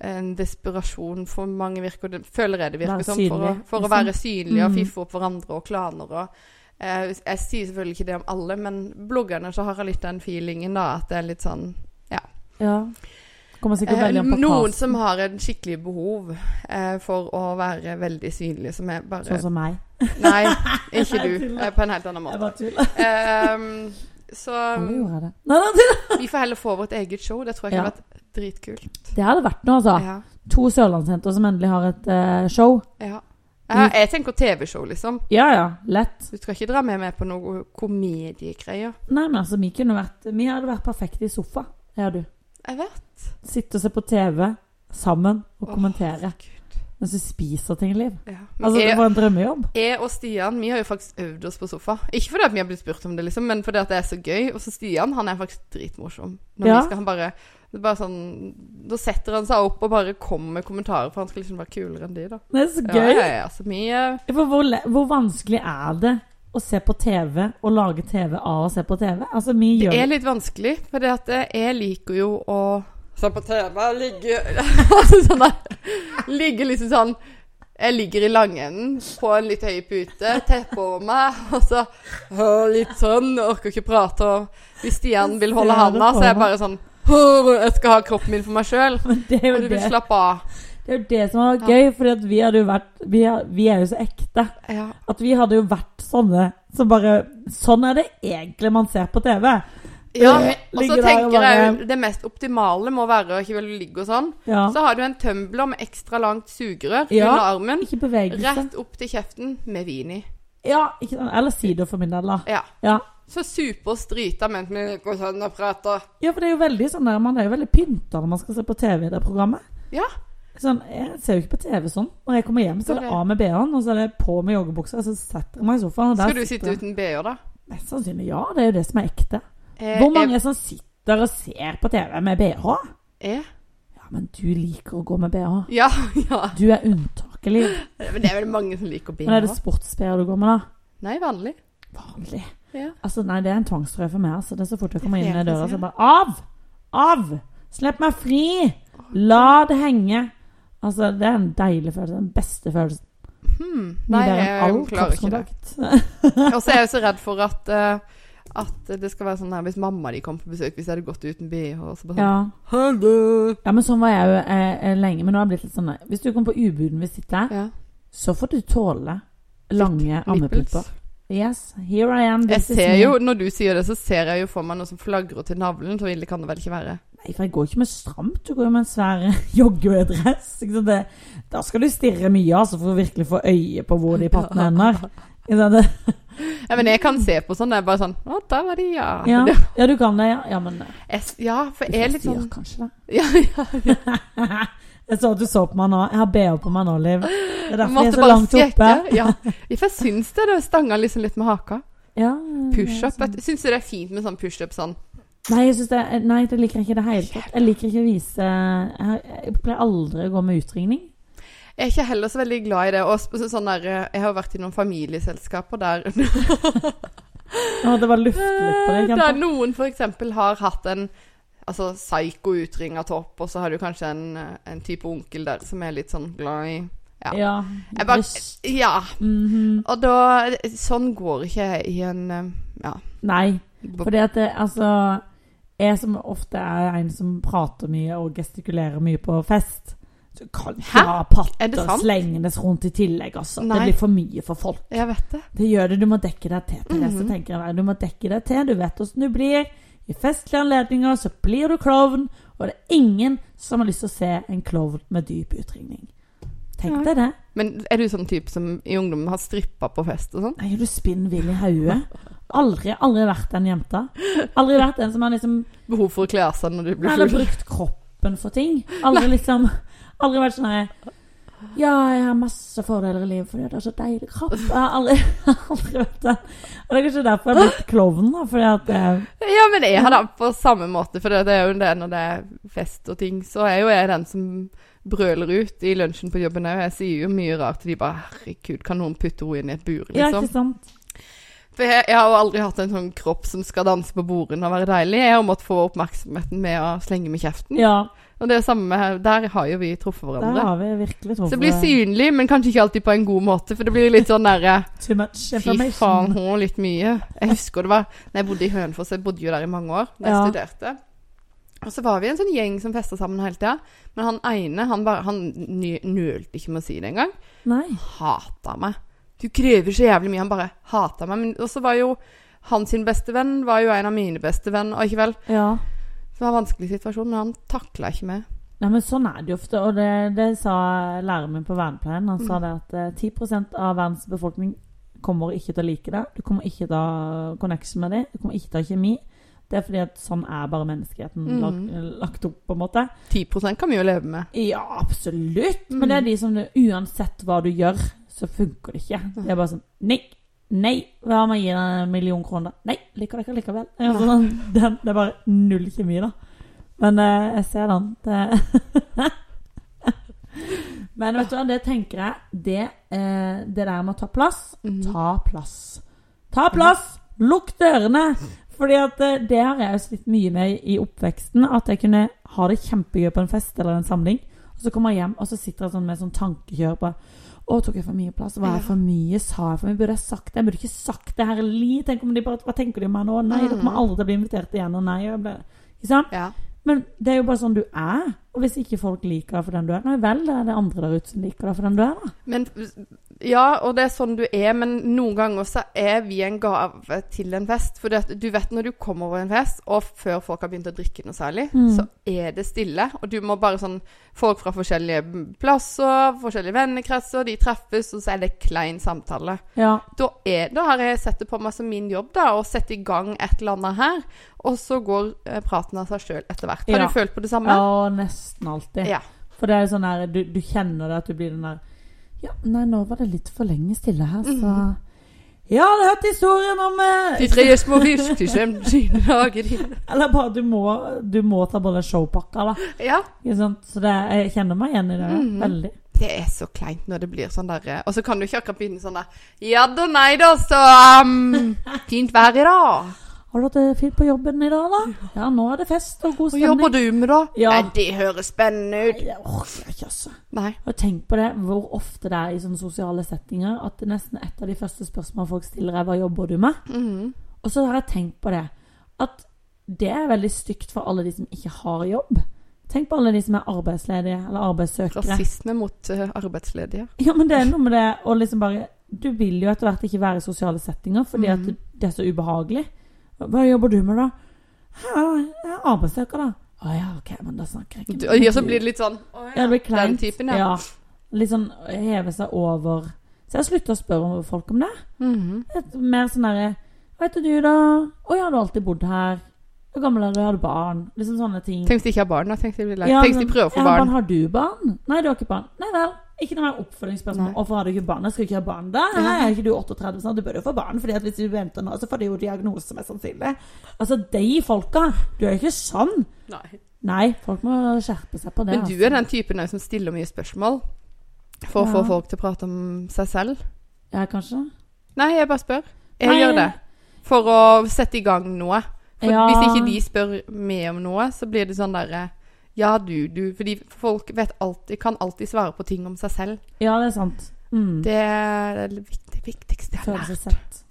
Speaker 2: en desperasjon for mange virker det, Føler jeg det virker
Speaker 1: Være
Speaker 2: som. For å,
Speaker 1: synlig,
Speaker 2: for å
Speaker 1: liksom.
Speaker 2: være synlig og
Speaker 1: Mm.
Speaker 2: fiffe opp hverandre og klaner og eh, Jeg sier selvfølgelig ikke det om alle, men bloggerne så har jeg litt den feelingen, da, at det er litt sånn
Speaker 1: Ja. Kommer sikkert
Speaker 2: Eh,
Speaker 1: veldig an på
Speaker 2: Noen
Speaker 1: casten,
Speaker 2: som har en skikkelig behov eh, for å være veldig synlig, som er bare
Speaker 1: Sånn som meg.
Speaker 2: Nei, ikke du.
Speaker 1: tuller.
Speaker 2: eh, På en helt
Speaker 1: Jeg
Speaker 2: annen måte.
Speaker 1: bare tuller.
Speaker 2: Ehm, så
Speaker 1: Nå gjorde jeg det. Nei, nei, det-
Speaker 2: vi får heller få vårt eget show. Det tror jeg
Speaker 1: Ja.
Speaker 2: kunne vært dritkult.
Speaker 1: Det hadde vært noe, altså.
Speaker 2: Ja.
Speaker 1: To sørlandsjenter som endelig har et eh, show.
Speaker 2: Ja.
Speaker 1: Mm.
Speaker 2: Eh, Jeg tenker TV-show, liksom.
Speaker 1: Ja ja, lett.
Speaker 2: Du skal ikke dra med meg på noe komediegreier.
Speaker 1: Nei, men altså, vi kunne vært Vi hadde vært perfekte i sofa, jeg og du.
Speaker 2: Jeg vet.
Speaker 1: Sitte og se på TV sammen og
Speaker 2: Åh,
Speaker 1: kommentere
Speaker 2: Gud.
Speaker 1: mens vi spiser ting, Liv.
Speaker 2: Ja. Men
Speaker 1: Altså, det
Speaker 2: jeg,
Speaker 1: var en drømmejobb.
Speaker 2: jeg og Stian vi har jo faktisk øvd oss på sofa. Ikke fordi at vi har blitt spurt om det, liksom, men fordi at det er så gøy. Og så Stian han er faktisk dritmorsom. Når
Speaker 1: Ja.
Speaker 2: vi skal, han bare, det er bare sånn, Da setter han seg opp og bare kommer med kommentarer, for han skal liksom være kulere enn de, da.
Speaker 1: Det er så
Speaker 2: Ja,
Speaker 1: gøy.
Speaker 2: ja, ja, så vi, eh,
Speaker 1: For hvor, le- hvor vanskelig er det å se på TV og lage TV av å se på TV? Altså, vi
Speaker 2: det
Speaker 1: gjør
Speaker 2: er litt vanskelig, for eh, jeg liker jo å Se på TV, ligge altså sånn der, Ligge liksom sånn Jeg ligger i langenden på en litt høy pute, teppe over meg, og så «Åh, litt sånn. Orker ikke prate. Og hvis Stian vil holde
Speaker 1: Ser du
Speaker 2: handa,
Speaker 1: på
Speaker 2: så er jeg
Speaker 1: meg?
Speaker 2: bare sånn «Åh, Jeg skal ha kroppen min for meg sjøl.
Speaker 1: Men det er
Speaker 2: Og
Speaker 1: jo
Speaker 2: du
Speaker 1: det,
Speaker 2: vil slappe av.
Speaker 1: det, er jo det som var gøy, for vi hadde jo vært vi er, vi er jo så ekte.
Speaker 2: Ja.
Speaker 1: At vi hadde jo vært sånne som bare Sånn er det egentlig man ser på TV.
Speaker 2: ja og
Speaker 1: Ligger der
Speaker 2: så
Speaker 1: og
Speaker 2: tenker jeg
Speaker 1: bare-
Speaker 2: jo det mest optimale må være å ikke ville ligge og sånn.
Speaker 1: Ja.
Speaker 2: Så har du en tumbler med ekstra langt sugerør
Speaker 1: Ja.
Speaker 2: under armen.
Speaker 1: Ikke bevegelse.
Speaker 2: Rett opp til kjeften med vin i.
Speaker 1: Ja, ikke, sant? eller sider for min del, da.
Speaker 2: Ja.
Speaker 1: Ja.
Speaker 2: Så super oss drita mens vi går sånn og prater.
Speaker 1: ja, for det er jo veldig sånn der, man er jo veldig pynta når man skal se på TV i det programmet.
Speaker 2: Ja.
Speaker 1: Sånn, Jeg ser jo ikke på TV sånn. Når jeg kommer hjem, så er det av med BH-en, og så er det på med joggebuksa, og så setter jeg meg i sofaen, og der
Speaker 2: Skal du sitte uten BH, da?
Speaker 1: Mest sannsynlig ja. Det er jo det som er ekte.
Speaker 2: Eh,
Speaker 1: Hvor mange som sitter og ser på TV med BH?
Speaker 2: Jeg, jeg,
Speaker 1: Ja, men du liker å gå med BH.
Speaker 2: ja, ja.
Speaker 1: Du er unntaket, Liv.
Speaker 2: Men det er vel mange som liker
Speaker 1: Men er
Speaker 2: BH?
Speaker 1: det sports-BH du går med, da?
Speaker 2: Nei, vanlig.
Speaker 1: Vanlig.
Speaker 2: Ja.
Speaker 1: Altså, nei, det er en tvangstrøye for meg. Altså. Det er så fort jeg kommer inn i
Speaker 2: Helt
Speaker 1: døra, så
Speaker 2: sikkert.
Speaker 1: bare Av! Av! Slipp meg fri! La det henge! Altså, det er en deilig følelse. Den beste følelsen.
Speaker 2: Hmm.
Speaker 1: Mye
Speaker 2: Nei,
Speaker 1: bedre enn
Speaker 2: jeg
Speaker 1: all
Speaker 2: klarer ikke det.
Speaker 1: kroppskontakt.
Speaker 2: Og så er jeg jo så redd for at eh, at det skal være sånn her hvis mamma de kom på besøk, hvis jeg hadde gått uten BH og så bare sånn,
Speaker 1: ja.
Speaker 2: Hallo!
Speaker 1: ja, men sånn var jeg jo eh, eh, lenge. Men nå har jeg blitt litt sånn eh, Hvis du kommer på ubuden vi sitter her,
Speaker 2: Ja.
Speaker 1: så får du tåle lange ammepupper.
Speaker 2: Nipples.
Speaker 1: Yes, here I am.
Speaker 2: Jeg
Speaker 1: this is
Speaker 2: ser
Speaker 1: me.
Speaker 2: jo, når du sier det, så ser jeg jo for meg noe som flagrer til navlen. Så ille kan det vel ikke være.
Speaker 1: Nei, for jeg går ikke med stramt. Du går jo med en svær joggedress. Ikke sant? Det, da skal du stirre mye, altså, for å virkelig få øye på hvor de pattene ender. Ikke sant? Det-
Speaker 2: Ja, men jeg kan se på sånn. Det er bare sånn Å, der var de, ja.
Speaker 1: Ja, ja, du kan det, ja. ja men eh,
Speaker 2: Jeg, s- ja, for
Speaker 1: du
Speaker 2: jeg er
Speaker 1: får
Speaker 2: litt
Speaker 1: styr,
Speaker 2: sånn
Speaker 1: kanskje det.
Speaker 2: ja, ja.
Speaker 1: jeg så at du så på meg nå. Jeg har BH på meg nå, Liv. Det er
Speaker 2: Jeg
Speaker 1: derfor jeg
Speaker 2: måtte
Speaker 1: er så
Speaker 2: bare
Speaker 1: langt oppe.
Speaker 2: sjekke. Ja. For jeg syns det. Det stanga liksom litt med haka.
Speaker 1: Ja,
Speaker 2: Pushup. vet du. Syns du det er fint med sånn pushup sånn?
Speaker 1: Nei, jeg synes det, nei, det liker jeg ikke i det hele tatt. Jeg liker ikke å vise Jeg, har- jeg pleier aldri å gå med utringning.
Speaker 2: Jeg er ikke heller så veldig glad i det. Og sp- sånn der, eh, jeg har vært i noen familieselskaper der
Speaker 1: Å, det var luft litt på det. kjente
Speaker 2: Der
Speaker 1: jeg.
Speaker 2: noen f.eks. har hatt en altså, psyko utringa topp, og så har du kanskje en, eh, en type onkel der som er litt sånn glad i ja.
Speaker 1: Ja.
Speaker 2: Jeg bare,
Speaker 1: Bryst.
Speaker 2: ja.
Speaker 1: Mhm.
Speaker 2: Og da Sånn går ikke jeg i en eh, Ja.
Speaker 1: Nei,
Speaker 2: b-
Speaker 1: fordi at det, altså Jeg som ofte er en som prater mye og gestikulerer mye på fest, så kan ikke
Speaker 2: Hæ?
Speaker 1: ha
Speaker 2: Er det
Speaker 1: patter
Speaker 2: sant?
Speaker 1: slengendes rundt i tillegg, altså.
Speaker 2: Nei.
Speaker 1: Det blir for mye for folk.
Speaker 2: Jeg vet det.
Speaker 1: Det gjør det. Du må dekke deg til, Therese,
Speaker 2: Mhm.
Speaker 1: tenker jeg. Du må dekke deg til. Du vet åssen du blir. I festlige anledninger så blir du klovn, og det er ingen som har lyst til å se en klovn med dyp utringning. Tenk
Speaker 2: Nei.
Speaker 1: deg det.
Speaker 2: Men er du sånn type som i ungdommen har strippa på fest og sånn?
Speaker 1: Nei, er du spinn vill i hodet? Aldri, aldri vært den jenta. Aldri vært den som har liksom
Speaker 2: Behov for å kle av seg når du blir
Speaker 1: Eller
Speaker 2: full?
Speaker 1: brukt kroppen for ting. Aldri liksom Aldri vært sånn her Ja, jeg har masse fordeler i livet fordi det er så deilig kropp. Jeg har aldri, aldri vært det. Og det er kanskje derfor jeg har blitt klovn, da. Fordi at eh,
Speaker 2: Ja, men jeg har det på samme måte, for det det er jo det når det er fest og ting, så er jo jeg den som brøler ut i lunsjen på jobben òg. Jeg sier jo mye rart, og de bare 'herregud, kan noen putte henne inn i et bur',
Speaker 1: Ja, ikke
Speaker 2: liksom.
Speaker 1: sant?
Speaker 2: For jeg, jeg har jo aldri hatt en sånn kropp som skal danse på bordene og være deilig. Jeg har måttet få oppmerksomheten med å slenge med kjeften.
Speaker 1: Ja,
Speaker 2: Og det er samme her. Der har jo vi truffet
Speaker 1: der
Speaker 2: hverandre.
Speaker 1: har vi virkelig
Speaker 2: Så
Speaker 1: truffet
Speaker 2: det blir synlig, men kanskje ikke alltid på en god måte. For det blir litt sånn derre
Speaker 1: too much
Speaker 2: Fy
Speaker 1: information.
Speaker 2: faen, hun har litt mye. Jeg husker det var Når jeg bodde i Hønefoss, jeg bodde jo der i mange år da jeg
Speaker 1: Ja.
Speaker 2: studerte. Og så var vi en sånn gjeng som festa sammen hele tida. Men han ene, han, bare, han ny- nølte ikke med å si det engang.
Speaker 1: Nei.
Speaker 2: Hata meg. Du krever så jævlig mye. Han bare hata meg. Men, og så var jo hans sin bestevenn var jo en av mine bestevenn og ikke vel.
Speaker 1: Ja.
Speaker 2: Det var en vanskelig situasjon, men han takla ikke meg.
Speaker 1: Nei, men Sånn er det jo ofte. Og det, det sa læreren min på vernepleien. Han sa det at eh, 10 av verdens befolkning kommer ikke til å like det. Du kommer ikke til å ha connection med dem. Du kommer ikke til å ha kjemi. Det er fordi at sånn er bare menneskeheten
Speaker 2: Mm.
Speaker 1: lagt, lagt opp, på en måte.
Speaker 2: 10 kan vi jo leve med.
Speaker 1: Ja, absolutt. Men det er de som du, uansett hva du gjør, så funker det ikke. Det er bare sånn Nei. Nei. Hva om jeg gir deg en million kroner? Nei. Liker dere likevel. Ja,
Speaker 2: Nei.
Speaker 1: sånn, den, det er bare null kjemi, da. Men eh, jeg ser den. Det Men vet du hva, det tenker jeg. Det, eh, det der med å ta plass
Speaker 2: Mhm.
Speaker 1: Ta plass. Ta plass! Lukk dørene! Fordi at eh, det har jeg jo slitt mye med i oppveksten. At jeg kunne ha det kjempegøy på en fest eller en samling. Og så kommer jeg hjem, og så sitter jeg sånn med sånn tankekjør på Å, tok jeg for mye plass? Var jeg
Speaker 2: Ja.
Speaker 1: for mye? Sa jeg for mye? Burde jeg sagt det? Jeg burde ikke sagt det her li. Tenk om de bare Hva tenker de om meg nå? Nei, da kommer jeg aldri til å bli invitert igjen. Og nei, og jeg ble Ikke sant?
Speaker 2: Ja.
Speaker 1: Men det er jo bare sånn du er. Og hvis ikke folk liker deg for den du er, nei vel, da er det andre der ute som liker deg for den du er, da.
Speaker 2: Men, ja, og det er sånn du er, men noen ganger så er vi en gave til en fest. For du vet når du kommer over en fest, og før folk har begynt å drikke noe særlig,
Speaker 1: Mm.
Speaker 2: så er det stille. Og du må bare sånn Folk fra forskjellige plasser, forskjellige vennekretser, de treffes, og så er det klein samtale.
Speaker 1: Ja.
Speaker 2: Da, er, da har jeg sett det på meg som min jobb, da, å sette i gang et eller annet her. Og så går eh, praten av seg sjøl etter hvert. Har
Speaker 1: Ja.
Speaker 2: du følt på det samme?
Speaker 1: ja, nesten alltid.
Speaker 2: Ja.
Speaker 1: For det er jo sånn her, du, du kjenner det at du blir den der Ja, nei, nå var det litt for lenge stille her, så Ja, du har hørt historien om eh,
Speaker 2: Mhm. De tre små fiskeskjemene dine lager dine.
Speaker 1: Eller bare du må, du må ta både showpakka, da.
Speaker 2: Ja.
Speaker 1: Ikke sant? Så det, jeg kjenner meg igjen i det.
Speaker 2: Mhm.
Speaker 1: Veldig.
Speaker 2: Det er så kleint når det blir sånn derre Og så kan du ikke akkurat begynne sånn der Ja da, nei da, så um, Fint vær i dag.
Speaker 1: Har du hatt det fint på jobben i dag, da? Ja, nå er det fest og god
Speaker 2: Hva jobber
Speaker 1: stemning.
Speaker 2: du med, da?
Speaker 1: Ja.
Speaker 2: Nei, det høres spennende ut.
Speaker 1: Nei, jeg orker ikke, altså.
Speaker 2: Nei.
Speaker 1: Og tenk på det, hvor ofte det er i sånne sosiale settinger at det nesten et av de første spørsmålene folk stiller er 'hva jobber du med?'
Speaker 2: Mhm.
Speaker 1: Og så har jeg tenkt på det, at det er veldig stygt for alle de som ikke har jobb. Tenk på alle de som er arbeidsledige eller arbeidssøkere.
Speaker 2: Rasisme mot eh, arbeidsledige.
Speaker 1: Ja, men det er noe med det å liksom bare Du vil jo etter hvert ikke være i sosiale settinger fordi at
Speaker 2: Mhm.
Speaker 1: det er så ubehagelig. Hva jobber du med, da? «Ja, Jeg er arbeidssøker, da. Å ja, OK, men da snakker jeg ikke
Speaker 2: Du-
Speaker 1: med
Speaker 2: Og ja, så
Speaker 1: du.»
Speaker 2: blir det litt sånn «Å
Speaker 1: Ja, det blir
Speaker 2: Den
Speaker 1: kleint.
Speaker 2: typen,
Speaker 1: ja.
Speaker 2: ja.
Speaker 1: Litt sånn heve seg over Så jeg har sluttet å spørre om folk om det.
Speaker 2: Mhm.
Speaker 1: Det er Mer sånn derre Hva heter du, da? Å ja, du har alltid bodd her. Hvor gammel er du? Har du barn? Liksom sånne ting.
Speaker 2: Tenk hvis de ikke har barn, da. Tenk hvis de blir lei.
Speaker 1: Ja,
Speaker 2: Tenk hvis de
Speaker 1: men-
Speaker 2: prøver å få
Speaker 1: ja,
Speaker 2: barn.
Speaker 1: Har du barn? Nei, du har ikke barn. Nei vel. Ikke noe mer oppfølgingsspørsmål.
Speaker 2: Nei.
Speaker 1: Hvorfor har du ikke barn? Jeg skal ikke ha barn da. Nei, er ikke du 38 snart? Du bør jo få barn, Fordi at hvis du venter nå, så får du jo diagnose, mest sannsynlig. Altså, de folka. Du er jo ikke sånn.
Speaker 2: Nei.
Speaker 1: Nei, folk må skjerpe seg på det.
Speaker 2: Men du
Speaker 1: altså.
Speaker 2: er den typen også som stiller mye spørsmål for å
Speaker 1: Ja.
Speaker 2: få folk til å prate om seg selv.
Speaker 1: Ja, kanskje?
Speaker 2: Nei, jeg bare spør. Jeg
Speaker 1: Nei,
Speaker 2: gjør det. For å sette i gang noe. For
Speaker 1: Ja.
Speaker 2: Hvis ikke de spør meg om noe, så blir det sånn derre Ja, du, du. Fordi folk vet alltid, kan alltid svare på ting om seg selv.
Speaker 1: Ja, det er sant. Mm.
Speaker 2: Det er det viktig- viktigste jeg har
Speaker 1: Føle seg
Speaker 2: lært.
Speaker 1: sett.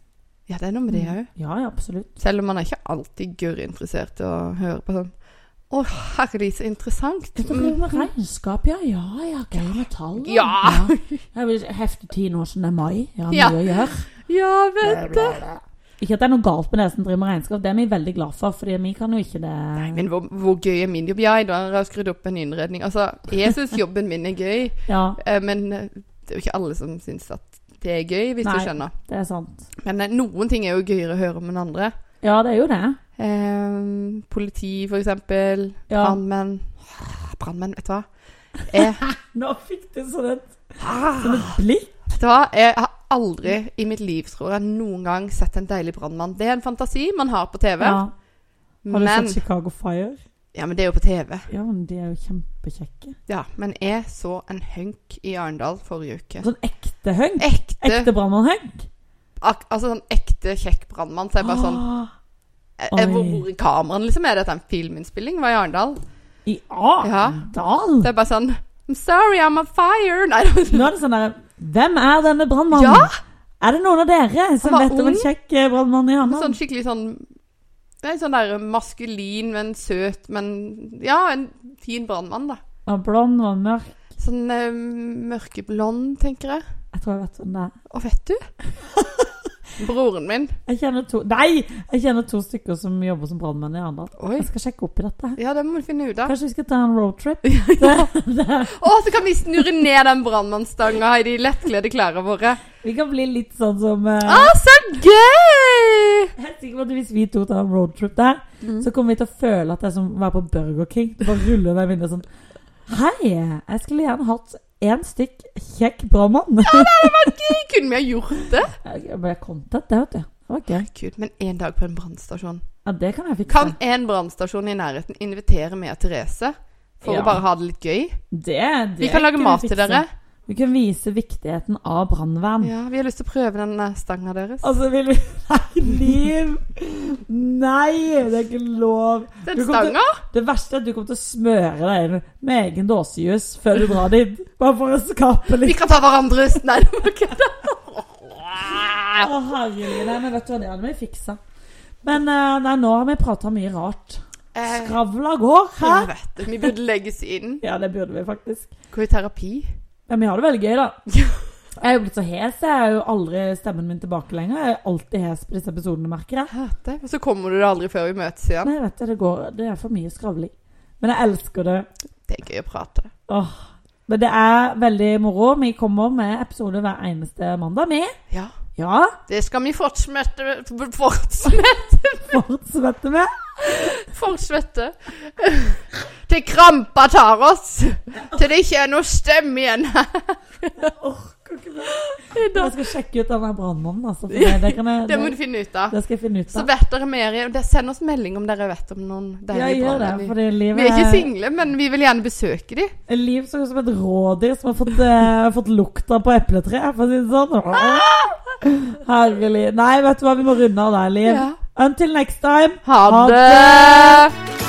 Speaker 2: Ja, det er noe med det
Speaker 1: Mm.
Speaker 2: òg.
Speaker 1: Ja, ja, absolutt.
Speaker 2: Selv om man er ikke alltid gørr interessert i å høre på sånn Å, herregud, så interessant. Mm.
Speaker 1: Dette driver med regnskap, ja. Ja, ja, gøy med tall. da.
Speaker 2: Mm-hmm. Ja.
Speaker 1: Jeg vil hefte ti nå som det er mai. Ja, mye
Speaker 2: Ja.
Speaker 1: å gjøre.
Speaker 2: Ja, vet du.
Speaker 1: Ikke at det er noe galt med det som driver med regnskap, det er vi veldig glad for, fordi vi kan jo ikke det.
Speaker 2: Nei, men hvor, hvor gøy er min jobb? Ja, i dag har jeg skrudd opp en innredning. Altså, jeg syns jobben min er gøy,
Speaker 1: Ja,
Speaker 2: eh, men eh, det er jo ikke alle som syns at det er gøy, hvis
Speaker 1: Nei.
Speaker 2: du skjønner.
Speaker 1: det er sant.
Speaker 2: Men eh, noen ting er jo gøyere å høre om enn andre.
Speaker 1: Ja, det er jo det.
Speaker 2: Eh, politi, for eksempel.
Speaker 1: Ja.
Speaker 2: Brannmenn. Brannmenn, vet du hva? Jeg,
Speaker 1: Nå fikk du sånn et, sånn et blikk.
Speaker 2: vet du hva? Jeg har aldri i mitt liv, tror jeg, noen gang sett en deilig brannmann. Det er en fantasi man har på TV.
Speaker 1: Ja. Har du
Speaker 2: Ah. men,
Speaker 1: sett Chicago Fire?
Speaker 2: ja, men det er jo på TV.
Speaker 1: Ja, men de er jo kjempekjekke.
Speaker 2: Ja, men jeg så en hunk i Arendal forrige uke.
Speaker 1: Sånn ekte høgg.
Speaker 2: Ekte,
Speaker 1: Ekte brannmannhøgg.
Speaker 2: ak altså sånn ekte kjekk brannmann. Så jeg bare sånn
Speaker 1: Ah.
Speaker 2: eh, eh, hvor, hvor er kameraene, liksom? Er dette en filminnspilling? Var i Arendal?
Speaker 1: I Arendal?
Speaker 2: Så jeg bare sånn I'm sorry, I'm on fire! Nei, det var-
Speaker 1: Nå er det sånn der Hvem er denne brannmannen?
Speaker 2: Ja!
Speaker 1: Er det noen av dere som
Speaker 2: var
Speaker 1: vet om en
Speaker 2: ung.
Speaker 1: kjekk eh, brannmann i Arendal?
Speaker 2: Sånn skikkelig sånn Nei, sånn der maskulin, men søt, men Ja, en fin brannmann, da.
Speaker 1: Var blond, var mørk.
Speaker 2: Sånn eh, mørkeblond, tenker jeg.
Speaker 1: Jeg tror jeg vet hvem det er.
Speaker 2: Og vet du? Broren min.
Speaker 1: Jeg kjenner to Nei! Jeg kjenner to stykker som jobber som brannmenn i Arendal.
Speaker 2: Oi.
Speaker 1: Jeg skal sjekke opp i dette. her.
Speaker 2: Ja, det må du finne ut av.
Speaker 1: Kanskje vi skal ta en roadtrip?
Speaker 2: Å, så kan vi snurre ned den brannmannsstanga i de lettkledde klærne våre.
Speaker 1: Vi kan bli litt sånn som eh,
Speaker 2: Å, så gøy!
Speaker 1: Jeg er sikker på at Hvis vi to tar en roadtrip der,
Speaker 2: Mm.
Speaker 1: så kommer vi til å føle at det er som å være på Burger King. Du bare ruller ned vinduet sånn Hei! Jeg skulle gjerne hatt én stykk kjekk brannmann.
Speaker 2: Kunne vi ha gjort det?
Speaker 1: Jeg bare content, det, vet du. Det var gøy.
Speaker 2: Gud, men en dag på en brannstasjon.
Speaker 1: Ja, det kan jeg fikse.
Speaker 2: Kan en brannstasjon i nærheten invitere meg og Therese? For
Speaker 1: Ja.
Speaker 2: å bare ha det litt gøy?
Speaker 1: Det, det
Speaker 2: Vi kan lage
Speaker 1: kunne
Speaker 2: mat
Speaker 1: jeg
Speaker 2: til
Speaker 1: fikse.
Speaker 2: dere.
Speaker 1: Vi kan vise viktigheten av brannvern.
Speaker 2: Ja, Vi har lyst til å prøve den eh, stanga deres.
Speaker 1: Altså, vil vi Nei, Liv! Nei, det er ikke lov.
Speaker 2: Den
Speaker 1: du kommer til-
Speaker 2: stanga?
Speaker 1: Det verste er at du kommer til å smøre deg inn med egen dåsejus før du drar dit. Bare for å skape
Speaker 2: Vi
Speaker 1: litt
Speaker 2: kan ta hverandres Nei, det var ikke det.
Speaker 1: Å, herregud. Nei, men vet du hva, det hadde vi fiksa. Men eh, nei, nå har vi prata mye rart.
Speaker 2: Eh,
Speaker 1: Skravla går, hæ?
Speaker 2: jeg vet det. Vi burde legges inn.
Speaker 1: Ja, det burde vi faktisk.
Speaker 2: Gå i terapi.
Speaker 1: Men vi har det veldig gøy, da. Jeg er jo blitt så hes. Jeg er jo aldri stemmen min tilbake lenger. Jeg er alltid hes på disse episodene, merker jeg.
Speaker 2: Hørte. Og så kommer du det aldri før vi møtes igjen.
Speaker 1: Nei, vet du, det går Det er for mye skravling. Men jeg elsker det.
Speaker 2: Det er gøy å prate.
Speaker 1: Åh. Men det er veldig moro. Vi kommer med episoder hver eneste mandag. Vi
Speaker 2: Ja.
Speaker 1: ja,
Speaker 2: Det skal vi fortsette Fortsette?
Speaker 1: fortsetter med.
Speaker 2: Fortsette. Til krampa tar oss. Til det ikke er noe stemme igjen.
Speaker 1: Jeg skal sjekke ut denne brannmannen, altså. For det, det, kan jeg,
Speaker 2: Det må
Speaker 1: det,
Speaker 2: du finne ut av.
Speaker 1: det skal jeg finne ut
Speaker 2: Så
Speaker 1: av.
Speaker 2: vet dere mer i- det- Send oss melding om dere vet om noen der
Speaker 1: Ja,
Speaker 2: i
Speaker 1: gjør det.
Speaker 2: brannen.
Speaker 1: Fordi
Speaker 2: Vi er ikke
Speaker 1: livet
Speaker 2: single, men vi vil gjerne besøke dem.
Speaker 1: Liv ser ut som et rådyr som har fått, eh, fått lukta på epletreet, for å si det sånn. Herlig. Nei, vet du hva, vi må runde av der, Liv.
Speaker 2: Ja.
Speaker 1: Until next time.
Speaker 2: Ha
Speaker 1: Ha
Speaker 2: det!